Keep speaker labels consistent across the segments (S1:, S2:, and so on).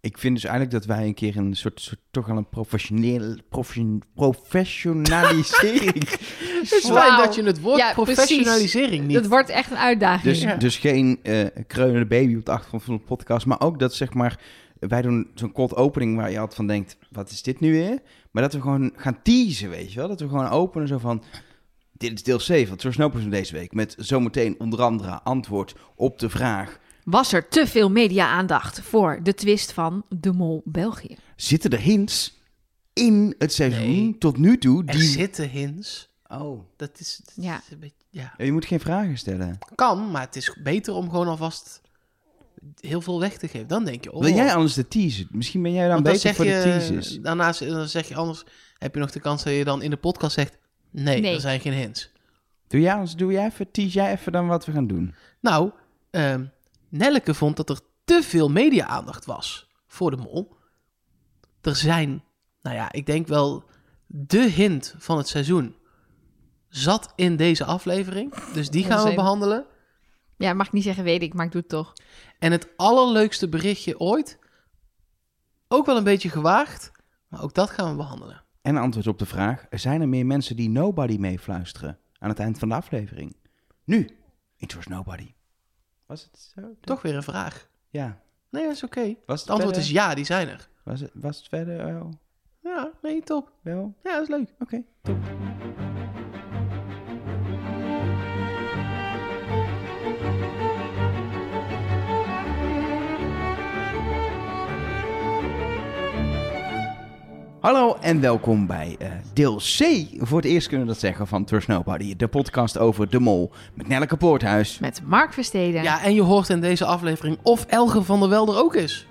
S1: ik vind dus eigenlijk dat wij een keer een soort, soort toch wel een professioneel, profession, professionalisering.
S2: Het is
S3: Wauw.
S2: fijn dat je het woord
S3: Ja, precies.
S2: professionalisering niet...
S3: Dat wordt echt een uitdaging.
S1: dus, dus geen eh kreunende baby op de achtergrond van de podcast. Maar ook dat zeg maar, wij doen zo'n cold opening waar je altijd van denkt, wat is dit nu weer? Maar dat we gewoon gaan teasen, weet je wel. Dat we gewoon openen zo van, dit is deel 7 van Trust Nopers van deze week. Met zometeen onder andere antwoord op de vraag,
S3: Was er te veel media-aandacht voor de twist van de mol België?
S1: zitten er hints in het seizoen
S2: Nee.
S1: tot nu toe
S2: Er
S1: die...
S2: zitten hints.
S1: Oh.
S2: Dat is, dat
S3: Ja.
S2: is een beetje... Ja.
S1: Je moet geen vragen stellen.
S2: Kan, maar het is beter om gewoon alvast heel veel weg te geven. Dan denk je, oh...
S1: Wil jij anders de teaser? Misschien ben jij dan
S2: want dan
S1: beter
S2: zeg
S1: voor de
S2: je... eh,
S1: teasers.
S2: Daarnaast dan zeg je anders... Heb je nog de kans dat je dan in de podcast zegt... Nee,
S3: Nee.
S2: er zijn geen hints.
S1: Doe jij, anders, doe jij even, tease jij even dan wat we gaan doen.
S2: Nou, ehm, Nelleke vond dat er te veel media-aandacht was voor de mol. Er zijn, nou ja, ik denk wel de hint van het seizoen zat in deze aflevering. Dus die gaan we
S3: Onzin.
S2: behandelen.
S3: Ja, mag ik niet zeggen, weet ik, maar ik doe het toch.
S2: En het allerleukste berichtje ooit, ook wel een beetje gewaagd, maar ook dat gaan we behandelen.
S1: En antwoord op de vraag, zijn er meer mensen die nobody meefluisteren aan het eind van de aflevering? Nu, it was nobody. Was het zo?
S2: Toch weer een vraag.
S1: Ja.
S2: Nee, dat is oké.
S1: Was
S2: Het antwoord is
S1: verder-
S2: ja, die zijn er.
S1: Was het, was het verder wel?
S2: Ja, nee, top.
S1: wel?
S2: Ja, dat is leuk.
S1: Oké, top. Hallo en welkom bij eh, deel C, voor het eerst kunnen we dat zeggen, van Trust Nobody. De podcast over De Mol met Nelleke Poorthuis.
S3: Met Mark Versteden.
S2: Ja, en je hoort in deze aflevering of Elger van der Wel er ook is.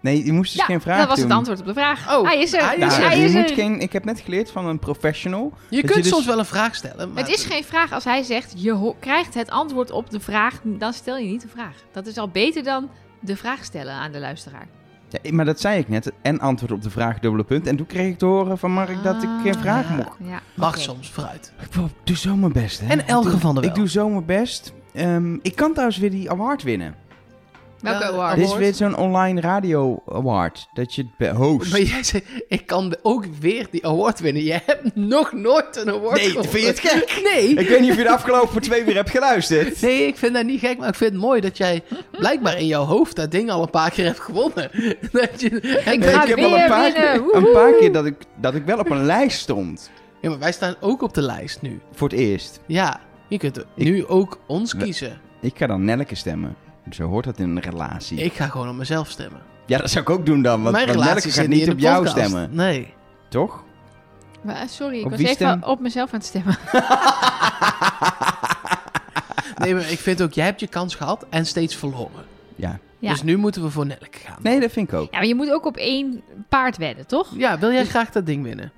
S1: Nee, je moest dus
S3: Ja,
S1: geen vraag
S3: dat was
S1: doen.
S3: het antwoord op de vraag.
S2: Oh,
S3: hij is er.
S2: hij
S3: Hij
S1: Nou,
S3: is,
S2: Dus
S3: hij
S1: je
S3: is
S1: moet
S3: er.
S1: geen, ik heb net geleerd van een professional. Dat
S2: Je kunt
S1: je dus-
S2: soms wel een vraag stellen. Maar
S3: Het is geen vraag als hij zegt, je ho- krijgt het antwoord op de vraag, dan stel je niet de vraag. Dat is al beter dan de vraag stellen aan de luisteraar.
S1: Ja, maar dat zei ik net. En antwoord op de vraag dubbele punt. En toen kreeg ik te horen van Mark dat ik geen vraag
S2: Ah.
S1: mocht.
S3: Ja,
S2: Mag
S3: oké.
S2: soms vooruit.
S1: Ik doe- doe zo mijn best, hè.
S2: En Elge
S1: Ik doe-
S2: van der Wel.
S1: Ik doe zo mijn best. Ehm, ik kan trouwens weer die award winnen.
S3: Welke
S2: Ja,
S3: award?
S1: Dit is
S2: Award?
S1: weer zo'n online radio award. Dat je het be- host.
S2: Maar jij zei, ik kan ook weer die award winnen. Je hebt nog nooit een award
S1: Nee,
S2: gewonnen.
S1: vind je het gek?
S2: Nee.
S1: Ik weet niet of je de afgelopen twee uur hebt geluisterd.
S2: Nee, ik vind dat niet gek, maar ik vind het mooi dat jij blijkbaar in jouw hoofd dat ding al een paar keer hebt gewonnen. Dat je, en-
S3: ga
S1: ik heb
S3: weer
S1: al een paar,
S3: winnen.
S1: keer, een
S3: Woehoe.
S1: paar keer dat ik, dat ik wel op een lijst stond.
S2: Ja, maar wij staan ook op de lijst nu.
S1: Voor het eerst.
S2: Ja, je kunt nu ook ons kiezen.
S1: Ik ga dan Nelleke stemmen. Zo hoort dat in een relatie.
S2: Ik ga gewoon op mezelf stemmen.
S1: Ja, dat zou ik ook doen dan. Want,
S2: Mijn
S1: want Nelleke
S2: relatie
S1: gaat
S2: zit
S1: niet
S2: in
S1: op
S2: de
S1: jou
S2: podcast.
S1: stemmen.
S2: Nee.
S1: Toch?
S3: Maar, Eh, Sorry, ik
S1: Op
S3: was
S1: wie
S3: even
S1: stem-
S3: op mezelf aan het stemmen.
S2: Nee, maar ik vind ook, jij hebt je kans gehad en steeds verloren.
S1: Ja.
S3: Ja.
S2: Dus nu moeten we voor Nelk gaan.
S1: Nee, dat vind ik ook.
S3: Ja, maar je moet ook op één paard wedden, toch?
S2: Ja, wil jij graag dat ding winnen?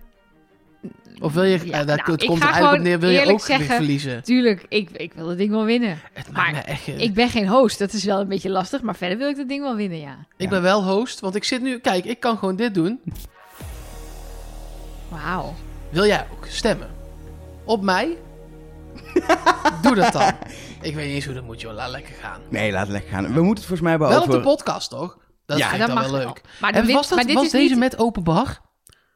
S2: Of wil je,
S3: Ja,
S2: eh, dat,
S3: nou,
S2: het
S3: ik
S2: komt
S3: ga
S2: er eigenlijk op
S3: gewoon
S2: neer, wil je
S3: eerlijk
S2: ook weer
S3: zeggen-
S2: verliezen?
S3: Tuurlijk, ik, ik wil dat ding wel winnen.
S2: Het
S3: Maar
S2: maakt me echt... eh,
S3: Ik
S2: Ik,
S3: ben geen host, dat is wel een beetje lastig, maar verder wil ik dat ding wel winnen, ja.
S2: ben wel host, want ik zit nu... Kijk, ik kan gewoon dit doen.
S3: Wauw.
S2: Wil jij ook stemmen? Op mij? Doe dat dan. Ik weet niet eens hoe dat moet, joh. Laat lekker gaan.
S1: Nee, laat lekker gaan. We moeten het volgens mij
S2: Wel
S1: beantwoorden.
S2: op de podcast, toch? Dat
S1: Ja,
S2: vind ik
S3: dat
S2: dan
S3: mag
S2: wel
S3: wel.
S2: leuk.
S3: Maar de
S2: en
S3: win-
S2: was, dat,
S3: maar dit
S2: was
S3: is
S2: deze
S3: niet-
S2: met open bar?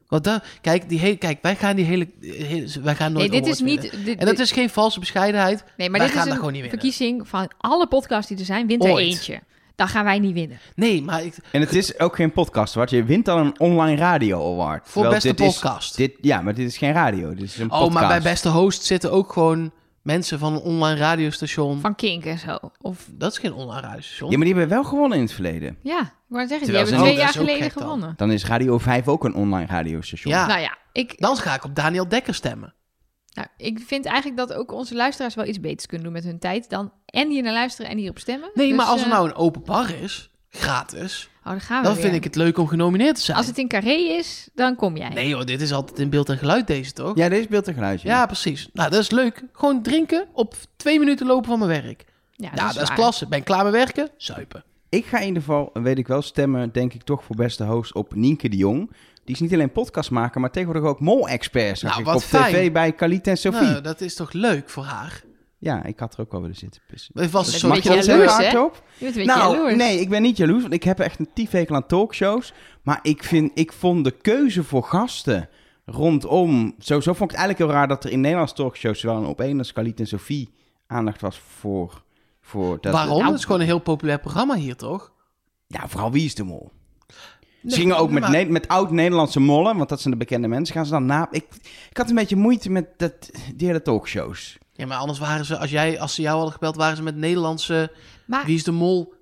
S2: Want daar, kijk, die hele, kijk, wij gaan die hele... hele- wij gaan nooit
S3: Nee, dit is
S2: awards winnen.
S3: niet... dit-
S2: En dat is geen valse bescheidenheid.
S3: nee, maar
S2: wij
S3: dit is
S2: gaan dat
S3: een
S2: gewoon niet winnen.
S3: verkiezing van alle podcasts die er zijn, wint er
S2: Ooit.
S3: eentje. Dan gaan wij niet winnen.
S2: Nee, maar ik,
S1: En het is ook geen podcast, wat je wint dan een online radio award.
S2: voor
S1: Terwijl
S2: beste
S1: dit is-
S2: podcast.
S1: dit, ja, maar dit is geen radio, dit is een podcast.
S2: Oh, maar bij Beste Host zitten ook gewoon mensen van een online radiostation.
S3: Van Kink en zo. Of,
S2: Dat is geen online radiostation.
S1: Ja, maar die hebben wel gewonnen in het verleden.
S3: ja, ik wou zeggen, die
S1: Terwijl ze-
S3: hebben twee
S2: Oh, dat
S3: jaar
S2: is ook
S3: geleden
S2: gek dan. Ah.
S3: gewonnen.
S1: Dan is Radio 5 ook een online radiostation.
S2: Ja.
S3: Nou ja, ik,
S2: Dan ga ik op Daniel Dekker stemmen.
S3: nou, ik vind eigenlijk dat ook onze luisteraars wel iets beters kunnen doen met hun tijd dan en hier naar luisteren en hierop stemmen.
S2: Nee,
S3: Dus,
S2: maar als er
S3: eh,
S2: nou een open bar is, gratis,
S3: oh, daar gaan we
S2: dan
S3: weer.
S2: vind ik het leuk om genomineerd te zijn.
S3: Als het in carré is, dan kom jij.
S2: Nee hoor, dit is altijd in beeld en geluid deze toch?
S1: Ja, deze beeld en geluidje.
S2: Ja, precies. Nou, dat is leuk. Gewoon drinken op twee minuten lopen van mijn werk.
S3: ja,
S2: Ja, dat, is
S3: waar.
S2: klasse. Ben ik klaar met werken? Zuipen.
S1: Ik ga in ieder geval, weet ik wel, stemmen, denk ik toch voor beste host op Nienke de Jong. Die is niet alleen podcastmaker, maar tegenwoordig ook mol-expert. zag
S2: Nou,
S1: ik
S2: wat
S1: op
S2: fijn.
S1: tv bij Khalid en Sophie.
S2: Nou, dat is toch leuk voor haar?
S1: Ja, ik had er ook wel willen jaloers. zitten pissen.
S2: Het was
S3: Je
S2: een
S3: bent
S2: soort
S1: Mag je
S3: beetje
S1: dat zeggen
S3: jaloers,
S1: hardop?
S3: hè? Je bent een beetje
S1: Nou,
S3: jaloers.
S1: nee, ik ben niet jaloers, want ik heb echt een tyfhekel aan talkshows. Maar ik, vind, ik vond de keuze voor gasten rondom... Zo, zo vond ik het eigenlijk heel raar dat er in Nederlandse talkshows... zowel een opeen als Khalid en Sophie aandacht was voor... voor dat,
S2: Waarom?
S1: Nou,
S2: het is gewoon een heel populair programma hier, toch?
S1: ja, vooral Wie is de Mol.
S2: Nee,
S1: ze gingen ook met,
S2: maar-
S1: Ne- met oud-Nederlandse mollen, want dat zijn de bekende mensen. Gaan ze dan na... Ik, ik had een beetje moeite met dat, die hele talkshows.
S2: Ja, maar anders waren ze, als, jij, als ze jou hadden gebeld, waren ze met Nederlandse
S3: Maar,
S2: Wie is de Mol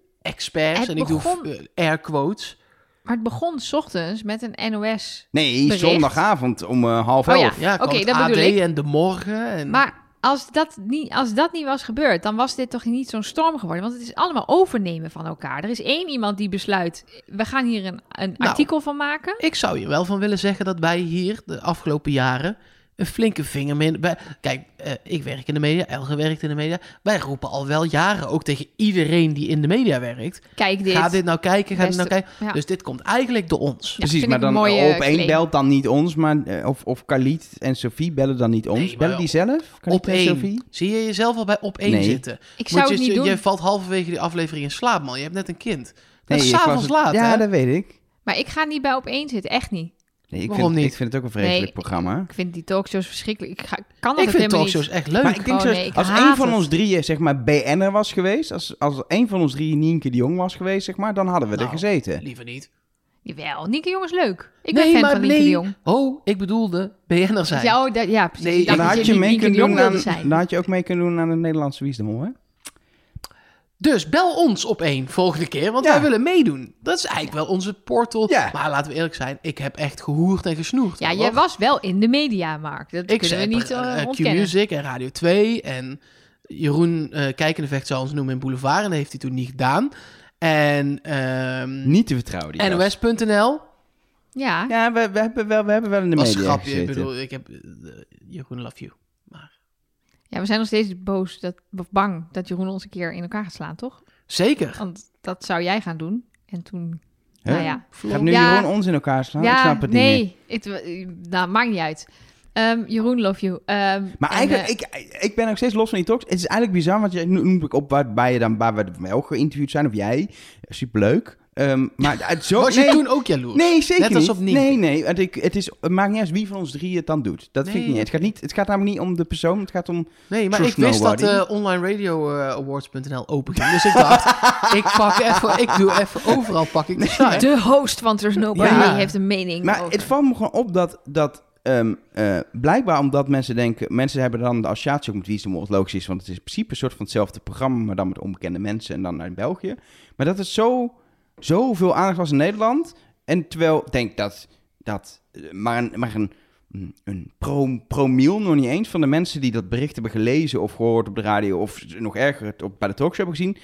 S3: Ah.
S2: experts.
S3: Het
S2: En ik
S3: begon-
S2: doe eh, air quotes.
S3: maar het begon 's ochtends met een NOS.
S1: Nee,
S3: Bericht.
S1: zondagavond om eh, half
S3: Oh ja.
S1: elf.
S2: Ja,
S3: Oké,
S2: kwam het
S3: dat
S2: AD
S3: bedoel ik.
S2: en De Morgen. En...
S3: Maar als dat, niet, als dat niet was gebeurd, dan was dit toch niet zo'n storm geworden. Want het is allemaal overnemen van elkaar. Er is één iemand die besluit, we gaan hier een, een
S2: Nou.
S3: artikel van maken.
S2: Ik zou je wel van willen zeggen dat wij hier de afgelopen jaren een flinke vinger min. Bij, kijk, eh, ik werk in de media, Elge werkt in de media. Wij roepen al wel jaren ook tegen iedereen die in de media werkt.
S3: Kijk dit.
S2: Ga dit nou kijken, ga dit nou
S3: Beste-
S2: kijken.
S3: ja.
S2: Dus dit komt eigenlijk door ons.
S3: Ja,
S1: Precies,
S3: vind
S1: maar
S3: ik een
S1: dan
S3: mooie
S1: op één
S3: claim.
S1: belt dan niet ons, maar, eh, of, of Khalid en Sophie bellen dan niet ons.
S2: Nee, maar
S1: bellen die zelf? Khalid
S2: op
S1: en Sophie?
S2: één. Zie je jezelf al bij op één
S1: Nee.
S2: zitten?
S3: Ik
S2: Moet
S3: zou
S2: je,
S3: het niet
S2: je,
S3: doen.
S2: je valt halverwege die aflevering in slaap, man. Je hebt net een kind. Dat
S1: ik
S2: is
S1: was
S2: s'avonds
S1: het-
S2: laat,
S1: Ja,
S2: hè?
S1: dat weet ik.
S3: Maar ik ga niet bij opeen zitten, echt niet.
S1: Nee, ik
S2: Waarom
S1: vind,
S2: niet?
S1: Ik vind het ook een vreselijk
S3: Nee,
S1: programma.
S3: Ik vind die talkshows verschrikkelijk. Ik ga, ik kan dat
S2: Ik vind
S3: helemaal
S2: talkshows
S3: niet.
S2: echt leuk.
S1: Maar ik denk
S3: Oh,
S1: zo,
S3: nee, ik
S1: als
S3: haat
S1: één van
S3: het.
S1: ons drieën, zeg maar, BN'er was geweest, als, als één van ons drieën Nienke de Jong was geweest, zeg maar, dan hadden we
S2: Nou,
S1: er gezeten.
S2: Liever niet.
S3: Jawel, Nienke de Jong is leuk. Ik
S2: Nee,
S3: ben fan
S2: maar
S3: van Nienke de
S2: nee.
S3: Jong.
S2: Oh, ik bedoelde BN'er zijn.
S3: Ja, oh, dat- ja, precies.
S2: Nee,
S3: Ik
S1: Maar
S3: dacht
S1: dan
S3: dat
S1: had je
S3: niet
S1: mee
S3: Nienke de
S1: kunnen
S3: Jong
S1: doen aan,
S3: wilde zijn.
S1: dan had je ook mee kunnen doen aan de Nederlandse Wiesdom, hè?
S2: Mm. Dus bel ons op één volgende keer, want
S1: Ja.
S2: wij willen meedoen. Dat is eigenlijk wel onze portal.
S1: Ja.
S2: Maar laten we eerlijk zijn, ik heb echt gehoerd en gesnoerd.
S3: Ja,
S2: hoor.
S3: jij was wel in de media, Mark. Dat
S2: ik
S3: kunnen
S2: zei
S3: we niet eh, ontkennen.
S2: Q-Music en Radio 2 en Jeroen eh Kijkendevecht zou ons noemen in Boulevard en dat heeft hij toen niet gedaan. En ehm,
S1: Niet te vertrouwen, die gast.
S2: NOS.nl
S3: Ja,
S1: Ja, we, we, hebben wel, we hebben wel in de
S2: was een
S1: media
S2: grapje. Ik
S1: gezeten.
S2: bedoel, ik heb eh, Jeroen love you.
S3: ja, we zijn nog steeds boos dat, of bang dat Jeroen ons een keer in elkaar gaat slaan, toch?
S2: Zeker.
S3: Want dat zou jij gaan doen. En toen,
S1: Hè?
S3: nou ja.
S1: Gaat nu
S3: Ja.
S1: Jeroen ons in elkaar slaan?
S3: ja,
S1: ik snap het niet meer.
S3: nee. Het, eh, nou, maakt niet uit. Ehm, Jeroen, love you. Ehm,
S1: Maar
S3: en,
S1: eigenlijk,
S3: eh,
S1: ik, ik ben nog steeds los van die talks. Het is eigenlijk bizar, want je nu noem ik op waarbij je dan, waar we wel geïnterviewd zijn, of jij. Superleuk. Ehm, maar het zo...
S2: Was
S1: nee,
S2: je toen ook jaloers?
S1: Nee, zeker
S2: Net alsof
S1: niet.
S2: Nienke.
S1: Nee, nee. Het, ik, het, is, het maakt niet uit wie van ons drie het dan doet. Dat vind ik
S2: Nee.
S1: niet. Het gaat, niet, het gaat namelijk niet om de persoon, het gaat om...
S2: Nee, maar
S1: Trust
S2: ik wist
S1: nobody.
S2: dat eh online radio eh, awards.nl open ging. Dus ik dacht, ik pak even, ik doe even overal pak ik de site.
S3: eh, nou, de host van There's Nobody
S2: Ja.
S3: heeft een mening
S1: Maar
S3: over.
S1: het valt me gewoon op dat... dat ehm, eh, blijkbaar omdat mensen denken... Mensen hebben dan de associatie ook met Wie is de Mol, wat logisch is. Want het is in principe een soort van hetzelfde programma... maar dan met onbekende mensen en dan uit België. Maar dat het zo, zoveel aandacht was in Nederland... en terwijl ik denk dat... dat eh, maar een, maar een, mm, een pro, promiel nog niet eens van de mensen... die dat bericht hebben gelezen of gehoord op de radio... of nog erger het op, bij de talkshow hebben gezien...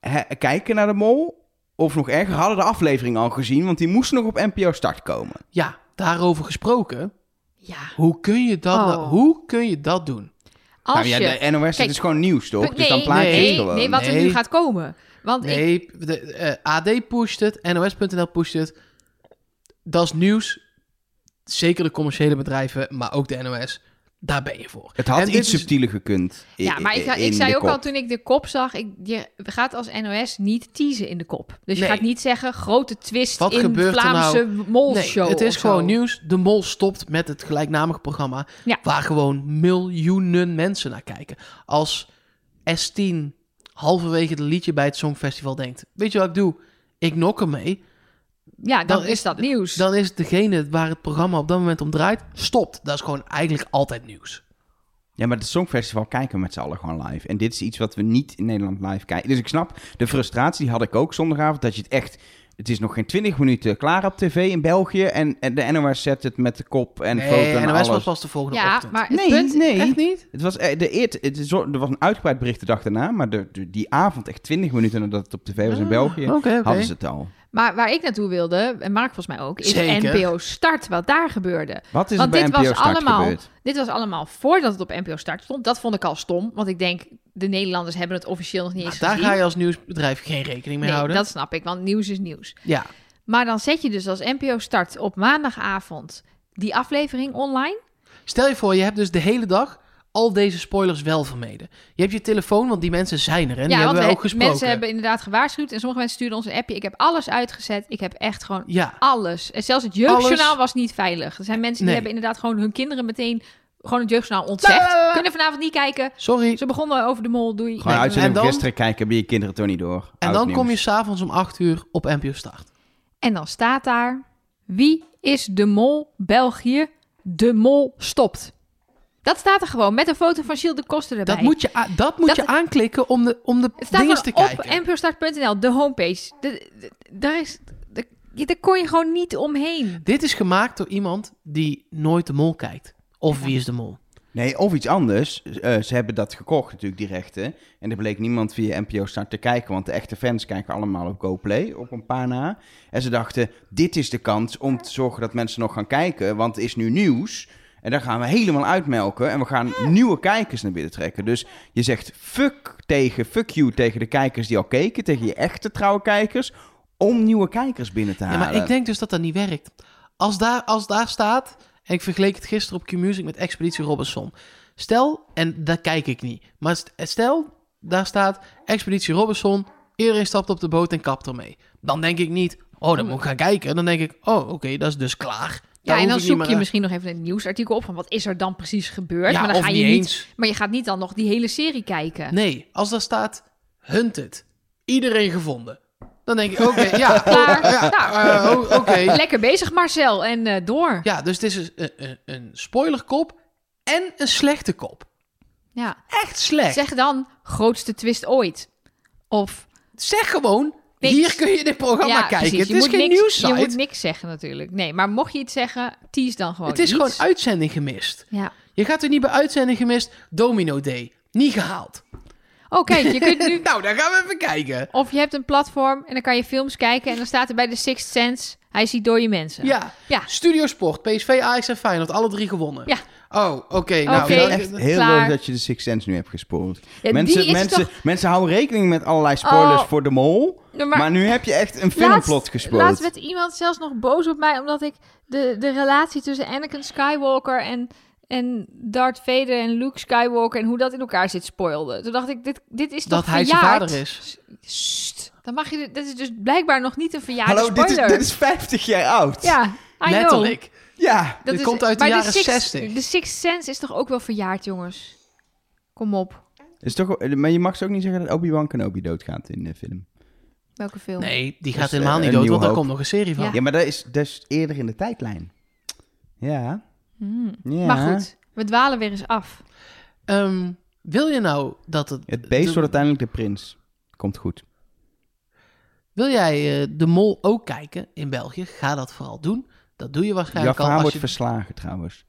S1: hè, kijken naar de Mol... Of nog erger, hadden de aflevering al gezien, want die moesten nog op NPO Start komen.
S2: Ja, daarover gesproken.
S3: ja,
S2: Hoe kun je dat,
S3: Oh.
S2: nou- hoe kun je dat doen?
S3: als
S1: nou ja,
S3: je...
S1: de NOS,
S3: Kijk,
S1: het is gewoon nieuws, toch?
S3: nee,
S1: dus dan plaat je
S2: nee,
S1: het
S3: nee,
S1: gewoon.
S3: nee, wat er
S2: Nee.
S3: nu gaat komen. Want ik,
S2: Nee, de, eh, AD pusht het, NOS.nl pusht het. Dat is nieuws. Zeker de commerciële bedrijven, maar ook de NOS. Daar ben je voor.
S1: Het had
S2: En dit
S1: iets
S2: is-
S1: subtieler gekund. i-
S3: Ja, maar ik,
S1: i-
S3: ik
S1: in
S3: zei
S1: de
S3: ook
S1: kop.
S3: al toen ik de kop zag, ik, je gaat als NOS niet teasen in de kop. Dus
S2: Nee.
S3: je gaat niet zeggen grote twist
S2: Wat
S3: in
S2: gebeurt er
S3: Vlaamse
S1: nou?
S3: molshow.
S2: Nee, het is
S3: of
S2: gewoon
S3: zo.
S2: nieuws. De Mol stopt met het gelijknamige programma.
S3: Ja.
S2: Waar gewoon miljoenen mensen naar kijken. Als S10 halverwege het liedje bij het Songfestival denkt: Weet je wat ik doe? Ik nok ermee.
S3: Ja, dan,
S2: Dan
S3: is dat nieuws.
S2: Dan is degene waar het programma op dat moment om draait, stopt. Dat is gewoon eigenlijk altijd nieuws.
S1: Ja, maar het Songfestival kijken we met z'n allen gewoon live. En dit is iets wat we niet in Nederland live kijken. Dus ik snap, de frustratie die had ik ook zondagavond. Dat je het echt... Het is nog geen 20 minuten klaar op tv in België. En, en de NOS zet het met de kop en foto
S2: nee,
S1: en
S2: NOS
S1: alles.
S2: was pas de volgende
S3: ja,
S2: ochtend.
S3: maar het
S1: Nee,
S3: punt...
S1: nee.
S3: Echt niet?
S1: Het was, eh, de eer- het is zo- er was een uitgebreid bericht de dag daarna. Maar de, de- die avond, echt 20 minuten nadat het op tv was in
S2: Ah,
S1: België,
S2: Oké, oké.
S1: hadden ze het al.
S3: Maar waar ik naartoe wilde, en Mark volgens mij ook, is
S2: Zeker.
S3: NPO Start, wat daar gebeurde.
S1: Wat is
S3: Want
S1: er bij
S3: dit
S1: NPO
S3: was
S1: Start
S3: allemaal-
S1: gebeurd?
S3: Dit was allemaal voordat het op NPO Start stond. Dat vond ik al stom, want ik denk, de Nederlanders hebben het officieel nog niet
S2: Maar
S3: eens
S2: Nou, daar
S3: gezien.
S2: ga je als nieuwsbedrijf geen rekening mee
S3: nee,
S2: houden.
S3: dat snap ik, want nieuws is nieuws.
S2: Ja,
S3: Maar dan zet je dus als NPO Start op maandagavond die aflevering online.
S2: Stel je voor, je hebt dus de hele dag al deze spoilers wel vermeden. Je hebt je telefoon, want die mensen zijn er. En die hebben
S3: want
S2: we
S3: we-
S2: ook gesproken.
S3: mensen hebben inderdaad gewaarschuwd. En sommige mensen stuurden ons een appje. Ik heb alles uitgezet. Ik heb echt gewoon
S2: Ja,
S3: alles. En zelfs het jeugdjournaal
S2: Alles.
S3: was niet veilig. Er zijn mensen die
S2: Nee.
S3: hebben inderdaad gewoon hun kinderen meteen... gewoon het jeugdjournaal ontzegd.
S2: Lalalala.
S3: Kunnen vanavond niet kijken.
S2: sorry.
S3: Ze begonnen over de mol. Doei.
S1: Gewoon
S2: Nee,
S1: uitzending
S2: en
S1: van
S2: dan-
S1: gisteren kijken, hebben je kinderen toch niet door.
S2: En
S1: Oud
S2: dan
S1: nieuws.
S2: kom je s'avonds om 8 uur op NPO Start.
S3: En dan staat daar: wie is de mol België? De mol stopt. Dat staat er gewoon met een foto van Gilles de Koster erbij.
S2: Dat moet je, a- dat moet
S3: Dat-
S2: je aanklikken om de, om de
S3: het staat
S2: dingen te
S3: gewoon op
S2: kijken.
S3: npostart.nl, de homepage. De- de- daar, is, de- je- daar kon je gewoon niet omheen.
S2: Dit is gemaakt door iemand die nooit de mol kijkt. Of
S3: Ja.
S2: wie is de mol?
S1: Nee, of iets anders. Eh, ze hebben dat gekocht natuurlijk, die rechten. En er bleek niemand via NPO Start te kijken, want de echte fans kijken allemaal op GoPlay, op een paar na. En ze dachten, dit is de kans om te zorgen dat mensen nog gaan kijken, want het is nu nieuws. En daar gaan we helemaal uitmelken en we gaan nieuwe kijkers naar binnen trekken. Dus je zegt fuck tegen, fuck you tegen de kijkers die al keken, tegen je echte trouwe kijkers, om nieuwe kijkers binnen te
S2: Ja,
S1: halen.
S2: maar ik denk dus dat dat niet werkt. Als daar, als daar staat, en ik vergeleek het gisteren op Q-Music met Expeditie Robinson. Stel, en daar kijk ik niet, maar st- stel, daar staat Expeditie Robinson, iedereen stapt op de boot en kapt ermee. Dan denk ik niet, oh, dan moet ik gaan kijken. Dan denk ik, oh, oké, dat is dus klaar. Daar
S3: Ja, en
S2: hoef
S3: dan
S2: ik niet
S3: zoek
S2: meer
S3: je
S2: aan-
S3: misschien nog even een nieuwsartikel op van wat is er dan precies gebeurd.
S2: Ja,
S3: maar, dan
S2: of
S3: ga je
S2: niet
S3: niet,
S2: eens.
S3: maar je gaat niet dan nog die hele serie kijken.
S2: Nee, als daar staat, hunted, iedereen gevonden. Dan denk ik, oké, ja, oh,
S3: Klaar. Nou,
S2: eh, o- oké.
S3: lekker bezig Marcel en eh, door. Ja.
S2: Ja, dus het is een, een, een spoilerkop en een slechte kop. Echt slecht.
S3: Zeg dan grootste twist ooit. Of
S2: Zeg gewoon,
S3: Niks.
S2: hier kun je dit programma
S3: ja,
S2: kijken.
S3: precies.
S2: Het
S3: Je
S2: is
S3: moet
S2: geen
S3: niks,
S2: nieuwssite.
S3: Je moet niks zeggen natuurlijk. Nee, maar mocht je iets zeggen, tease dan gewoon
S2: het is
S3: iets.
S2: gewoon uitzending gemist.
S3: Ja.
S2: Je gaat er niet bij uitzending gemist. Domino Day. Niet gehaald.
S3: Oh, kijk, je kunt nu...
S2: nou, daar gaan we even kijken.
S3: Of je hebt een platform en dan kan je films kijken... en dan staat er bij de Sixth Sense... hij ziet dode mensen.
S2: Ja.
S3: Ja.
S2: Studio Sport, PSV, Ajax en Feyenoord. Alle drie gewonnen.
S3: Ja.
S2: Oh, oké. nou,
S3: Oké. dus
S1: Ik vind
S2: dan-
S1: het echt heel
S3: Klaar.
S1: leuk dat je de Six Sense nu hebt gespoord.
S3: die
S1: mensen,
S3: is
S1: mensen,
S3: toch-
S1: mensen houden rekening met allerlei spoilers
S3: Oh.
S1: voor de mol.
S3: Nou,
S1: Maar,
S3: maar
S1: nu heb je echt een
S3: laatst-
S1: filmplot gespoord.
S3: Laatst werd iemand zelfs nog boos op mij... omdat ik de, de relatie tussen Anakin Skywalker en... En Darth Vader en Luke Skywalker en hoe dat in elkaar zit spoilde. Toen dacht ik, dit, dit is toch
S2: Dat hij zijn
S3: verjaard?
S2: vader is.
S3: Sst, dan mag je, dit- dit is dus blijkbaar nog niet een verjaarde
S1: Hallo, dit is,
S3: spoiler.
S1: dit is 50 jaar oud.
S3: Ja, I know.
S2: Letterlijk.
S1: Ja.
S3: Dat
S2: Dit komt uit de
S3: maar
S2: jaren
S3: Sixth-
S2: 60.
S3: De Sixth Sense is toch ook wel verjaard, jongens? Kom op.
S1: Is toch, maar je mag ze ook niet zeggen dat Obi-Wan Kenobi doodgaat in de film.
S3: Welke film?
S2: Nee, die
S1: Dus,
S2: gaat helemaal
S1: eh,
S2: niet
S1: een
S2: dood,
S1: nieuwe
S2: want daar
S1: hoop.
S2: komt nog een serie van.
S3: Ja.
S1: Ja, maar dat is, dat is eerder in de tijdlijn. Ja.
S3: Hmm.
S1: ja.
S3: Maar goed, we dwalen weer eens af.
S2: Ehm, wil je nou dat het...
S1: Het beest
S2: de-
S1: wordt uiteindelijk de prins. Komt goed.
S2: Wil jij eh, de mol ook kijken in België? Ga dat vooral doen. Dat doe je waarschijnlijk
S1: Jafar
S2: al als
S1: wordt
S2: je...
S1: verslagen trouwens.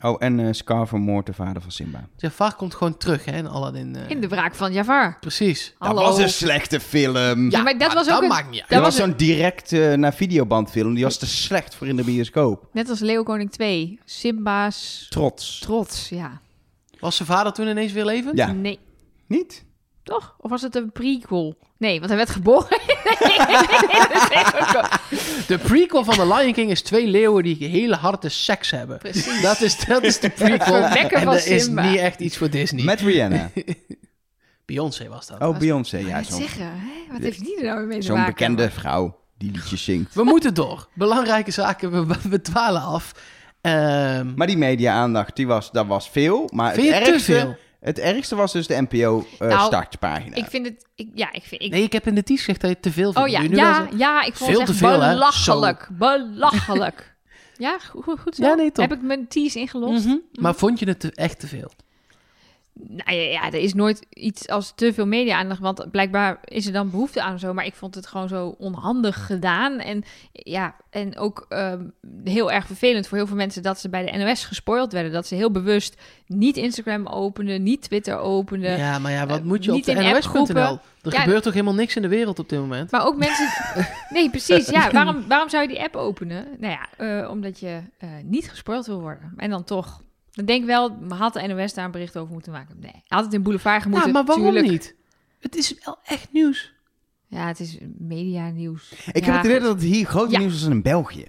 S1: Oh, en eh Scar vermoordt de vader van Simba.
S2: Jafar komt gewoon terug hè, in Aladdin. eh,
S3: In de wraak van Jafar.
S2: Precies.
S3: Hallo.
S1: slechte film.
S3: Ja, maar dat was ook een-
S2: maakt niet uit.
S1: dus- Dat
S3: was
S1: was zo'n direct eh, naar videoband film. Die was te slecht voor in de bioscoop.
S3: Net als Leeuwkoning 2. Simba's
S1: Trots.
S3: trots, ja.
S2: Was zijn vader toen ineens weer levend?
S1: Ja.
S3: Nee,
S1: Niet?
S3: toch? Of was het een prequel? Nee, want hij werd geboren. Nee, dat is ook zo.
S2: De prequel van The Lion King is twee leeuwen die hele harde seks hebben.
S3: Precies.
S2: Dat is, dat is de prequel.
S3: Verwekker
S2: en
S3: van
S2: dat is
S3: Simba.
S2: niet echt iets voor Disney.
S1: Met Rihanna.
S2: Beyoncé was dat.
S1: Oh, Beyoncé. Ja,
S3: Wat
S1: zo'n
S3: zeggen, hè? Wat heeft die er nou mee te
S1: zo'n
S3: maken?
S1: bekende vrouw die liedjes zingt.
S2: We moeten door. Belangrijke zaken, we, we dwalen af. Ehm,
S1: Maar die media-aandacht, die was, dat was veel. Maar het
S2: Vind je te
S1: ergste,
S2: veel?
S1: het ergste was dus de
S3: Nou,
S1: NPO-startpagina.
S3: Ik vind het... Ik, ja, ik vind... Ik,
S2: nee, ik heb in de tiest gezegd dat je te veel vindt.
S3: Oh ja,
S2: Moet je nu wel
S3: ja,
S2: zeggen?
S3: ja, ik vond
S2: Veel
S3: het echt
S2: te veel, hè?
S3: belachelijk. Belachelijk. ja, go- go- goed zo.
S2: Ja, nee, top.
S3: Heb ik mijn tease ingelost?
S2: Mhm. Maar vond je het te- echt te veel?
S3: Nou ja, ja, er is nooit iets als te veel media-aandacht, want blijkbaar is er dan behoefte aan of zo. Maar ik vond het gewoon zo onhandig gedaan. En ja, en ook ehm, heel erg vervelend voor heel veel mensen dat ze bij de NOS gespoild werden. Dat ze heel bewust niet Instagram openden, niet Twitter openden.
S2: Ja, maar ja, wat
S3: eh,
S2: moet je op
S3: niet
S2: de
S3: in
S2: NOS.nl?
S3: appgroepen.
S2: Er
S3: Ja.
S2: gebeurt toch helemaal niks in de wereld op dit moment?
S3: Maar ook mensen. Nee, precies. Ja, waarom, waarom zou je die app openen? Nou ja, eh, omdat je eh, niet gespoild wil worden. En dan toch. Dan denk ik wel, had de NOS daar een bericht over moeten maken? Nee. Had het in Boulevard
S2: Ja,
S3: moeten.
S2: maar waarom
S3: tuurlijk.
S2: niet? Het is wel echt nieuws.
S3: Ja, het is media nieuws.
S1: Ik heb het idee dat het hier groot
S3: Ja.
S1: nieuws was in België.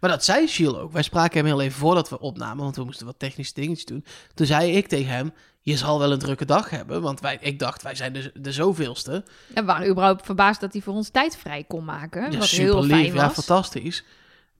S2: Maar dat zei Shiel ook. Wij spraken hem heel even voordat we opnamen, want we moesten wat technische dingetjes doen. Toen zei ik tegen hem, je zal wel een drukke dag hebben, want wij, ik dacht, wij zijn de, de zoveelste.
S3: En we waren überhaupt verbaasd dat hij voor ons tijd vrij kon maken.
S2: Ja,
S3: wat
S2: super
S3: heel
S2: lief,
S3: fijn
S2: ja,
S3: was.
S2: fantastisch.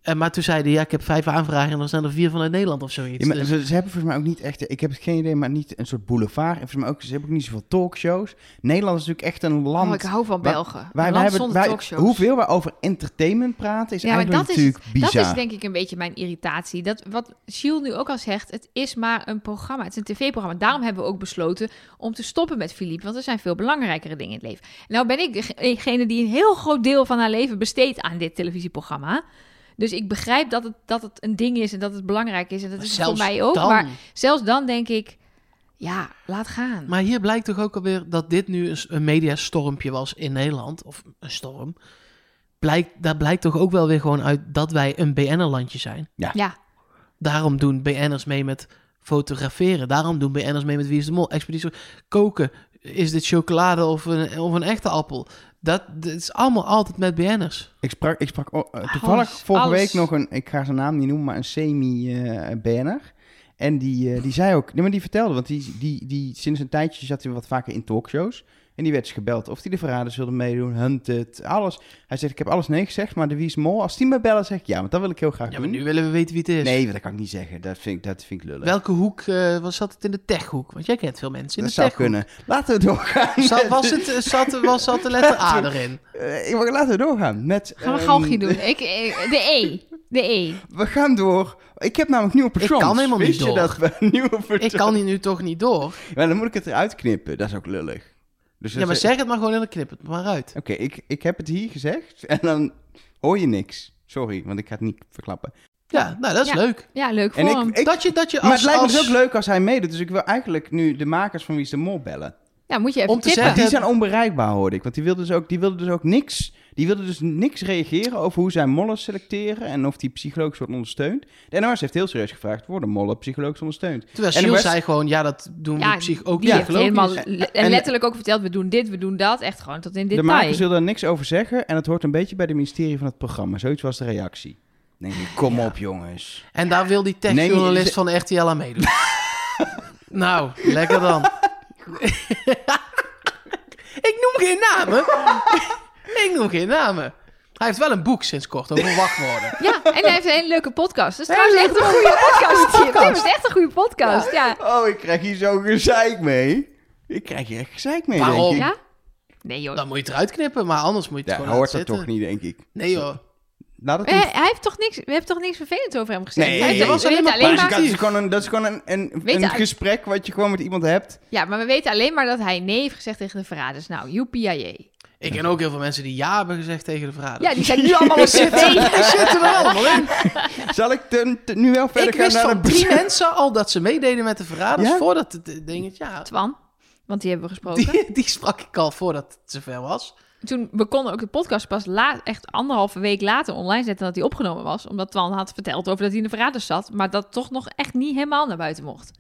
S2: En, maar toen zei hij, ja, ik heb vijf aanvragen en dan zijn er vier vanuit Nederland of zoiets.
S1: Ja, maar
S2: Dus-
S1: ze, ze hebben volgens mij ook niet echt, ik heb het geen idee, maar niet een soort boulevard. En volgens mij ook, ze hebben ook niet zoveel talkshows. Nederland is natuurlijk echt een land.
S3: oh, ik hou van
S1: Wa-
S3: Belgen.
S1: wij,
S3: Een
S1: wij
S3: land
S1: hebben,
S3: zonder
S1: wij,
S3: talkshows.
S1: hoeveel we over entertainment praten is
S3: Ja, maar
S1: eigenlijk
S3: dat is-
S1: natuurlijk bizar.
S3: Dat is denk ik een beetje mijn irritatie. Dat wat Giel nu ook al zegt, het is maar een programma. Het is een tv-programma. Daarom hebben we ook besloten om te stoppen met Philippe. Want er zijn veel belangrijkere dingen in het leven. Nou ben ik degene die een heel groot deel van haar leven besteedt aan dit televisieprogramma. Dus ik begrijp dat het, dat het een ding is en dat het belangrijk is. En dat
S2: Maar
S3: is het voor
S2: zelfs
S3: mij ook.
S2: dan.
S3: Maar zelfs dan denk ik, ja, laat gaan.
S2: Maar hier blijkt toch ook alweer dat dit nu een, s- een mediastormpje was in Nederland. Of een storm. Blijkt, daar blijkt toch ook wel weer gewoon uit dat wij een BN'er-landje zijn.
S3: ja,
S2: Daarom doen BN'ers mee met fotograferen. Daarom doen BN'ers mee met Wie is de Mol. Expeditie koken. Is dit chocolade of een, of een echte appel? Dat, dat is allemaal altijd met BN'ers.
S1: Ik sprak, ik sprak oh, eh, toevallig
S3: Ah, Alles,
S1: vorige
S3: alles.
S1: week nog een, ik ga zijn naam niet noemen, maar een semi-banner. en die, eh, die zei ook, nee, maar die vertelde, want die, die, die, sinds een tijdje zat hij wat vaker in talkshows. En die werd dus gebeld of hij de verraders wilde meedoen, Hunted, alles. Hij zegt, ik heb alles nee gezegd, maar de Wies Mol, als die me bellen, zeg ik ja, want dat wil ik heel graag
S2: Ja,
S1: doen.
S2: maar nu willen we weten wie het is.
S1: Nee, want dat kan ik niet zeggen, dat vind ik, dat vind ik lullig.
S2: Welke hoek eh, was zat het in de techhoek? Want jij kent veel mensen in
S1: dat
S2: de
S1: zou
S2: techhoek.
S1: kunnen. Laten we doorgaan.
S2: Zat,
S1: met-
S2: was, het, eh, zat, was, zat de letter A erin?
S1: Eh, ik- laten we doorgaan met...
S3: gaan we
S1: ehm,
S3: galgje doen. Ik, eh, de E. De E.
S1: We gaan door. Ik heb namelijk nieuwe patrons.
S2: kan helemaal niet
S1: Wist je
S2: door.
S1: dat we een nieuwe patrons...
S2: Ik kan hier nu toch niet door.
S1: Maar dan moet ik het eruit knippen. Dat is ook lullig. Dus
S2: Ja,
S1: dat
S2: maar
S1: is-
S2: zeg het maar gewoon en dan knip het maar uit.
S1: Oké, ik, ik heb het hier gezegd en dan hoor je niks. Sorry, want ik ga het niet verklappen.
S2: Ja, nou, dat is
S3: Ja.
S2: leuk.
S3: Ja, leuk voor
S1: En
S3: hem.
S1: ik, ik,
S2: dat je, dat je als,
S1: maar het lijkt me
S2: als-
S1: dus ook leuk als hij meedoet. Dus ik wil eigenlijk nu de makers van Wie is de Mol bellen.
S3: Ja, moet je even
S2: om te
S3: tippen.
S1: Maar die
S2: Ja.
S1: zijn onbereikbaar, hoorde ik. Want die wilden dus ook, die wilden dus ook niks... Die wilden dus niks reageren over hoe zij mollen selecteren... en of die psychologisch wordt ondersteund. De NOS heeft heel serieus gevraagd... worden mollen psychologisch ondersteund?
S2: Terwijl
S1: En de
S2: Siel
S1: West-
S2: zei gewoon, ja, dat doen we
S3: Ja,
S2: op zich ook
S3: Die
S1: Ja,
S2: niet.
S3: heeft
S1: geloof ik
S3: helemaal
S1: niet.
S3: le-
S1: En-
S3: en letterlijk ook verteld, we doen dit, we doen dat. Echt gewoon tot in
S1: De
S3: detail.
S1: makers wilden er niks over zeggen... en het hoort een beetje bij de ministerie van het programma. Zoiets was de reactie. Dan denk ik, kom
S2: Ja.
S1: op jongens.
S2: En daar wil die
S1: Neem je-
S2: techjournalist van de RTL aan meedoen. nou, lekker dan. ik noem geen namen. ik noem geen namen. Hij heeft wel een boek sinds kort over wachtwoorden.
S3: Ja, en hij heeft een hele leuke podcast. Dat is
S1: Hele
S3: trouwens echt een goede podcast.
S1: podcast.
S3: Tim is echt een goede podcast, ja.
S1: Oh, ik krijg hier zo'n gezeik mee. Ik krijg hier echt gezeik mee,
S2: Waarom?
S1: denk ik.
S3: Ja? Nee joh.
S2: Dan moet je het eruit knippen, maar anders moet je het
S1: Ja,
S2: gewoon
S1: hoort
S2: laten
S1: dat toch
S2: zitten.
S1: niet, denk ik.
S2: Nee joh.
S1: Laat het
S3: Maar Eh, Hij,
S1: niet.
S3: hij heeft toch niks, we hebben toch niks vervelends over hem gezegd?
S1: Nee,
S3: Hij heeft-
S1: er
S2: was
S3: we
S2: alleen
S3: weten
S2: maar
S3: alleen
S1: Dat
S3: maar,
S1: is- dat is gewoon een, dat is gewoon een, een,
S3: Weet
S1: een
S3: je-
S1: gesprek wat je gewoon met iemand hebt.
S3: Ja, maar we weten alleen maar dat hij nee heeft gezegd tegen de verraders. Nou, joepiaje.
S2: Ik ken ook heel veel mensen die ja hebben gezegd tegen de verrader.
S3: Ja, die zijn nu allemaal op zitten.
S2: Hij zit er wel allemaal in.
S1: Zal ik ten- ten- nu wel verder
S2: ik
S1: gaan
S2: wist
S1: naar
S2: van
S1: de
S2: drie mensen al dat ze meededen met de verraders
S1: Ja?
S2: voordat het eh, dingetje... Ja,
S3: Twan, want die hebben we gesproken.
S2: die, die sprak ik al voordat het zover was.
S3: Toen, we konden ook de podcast pas la, echt anderhalve week later online zetten dat hij opgenomen was. Omdat Twan had verteld over dat hij in de verraders zat. Maar dat toch nog echt niet helemaal naar buiten mocht.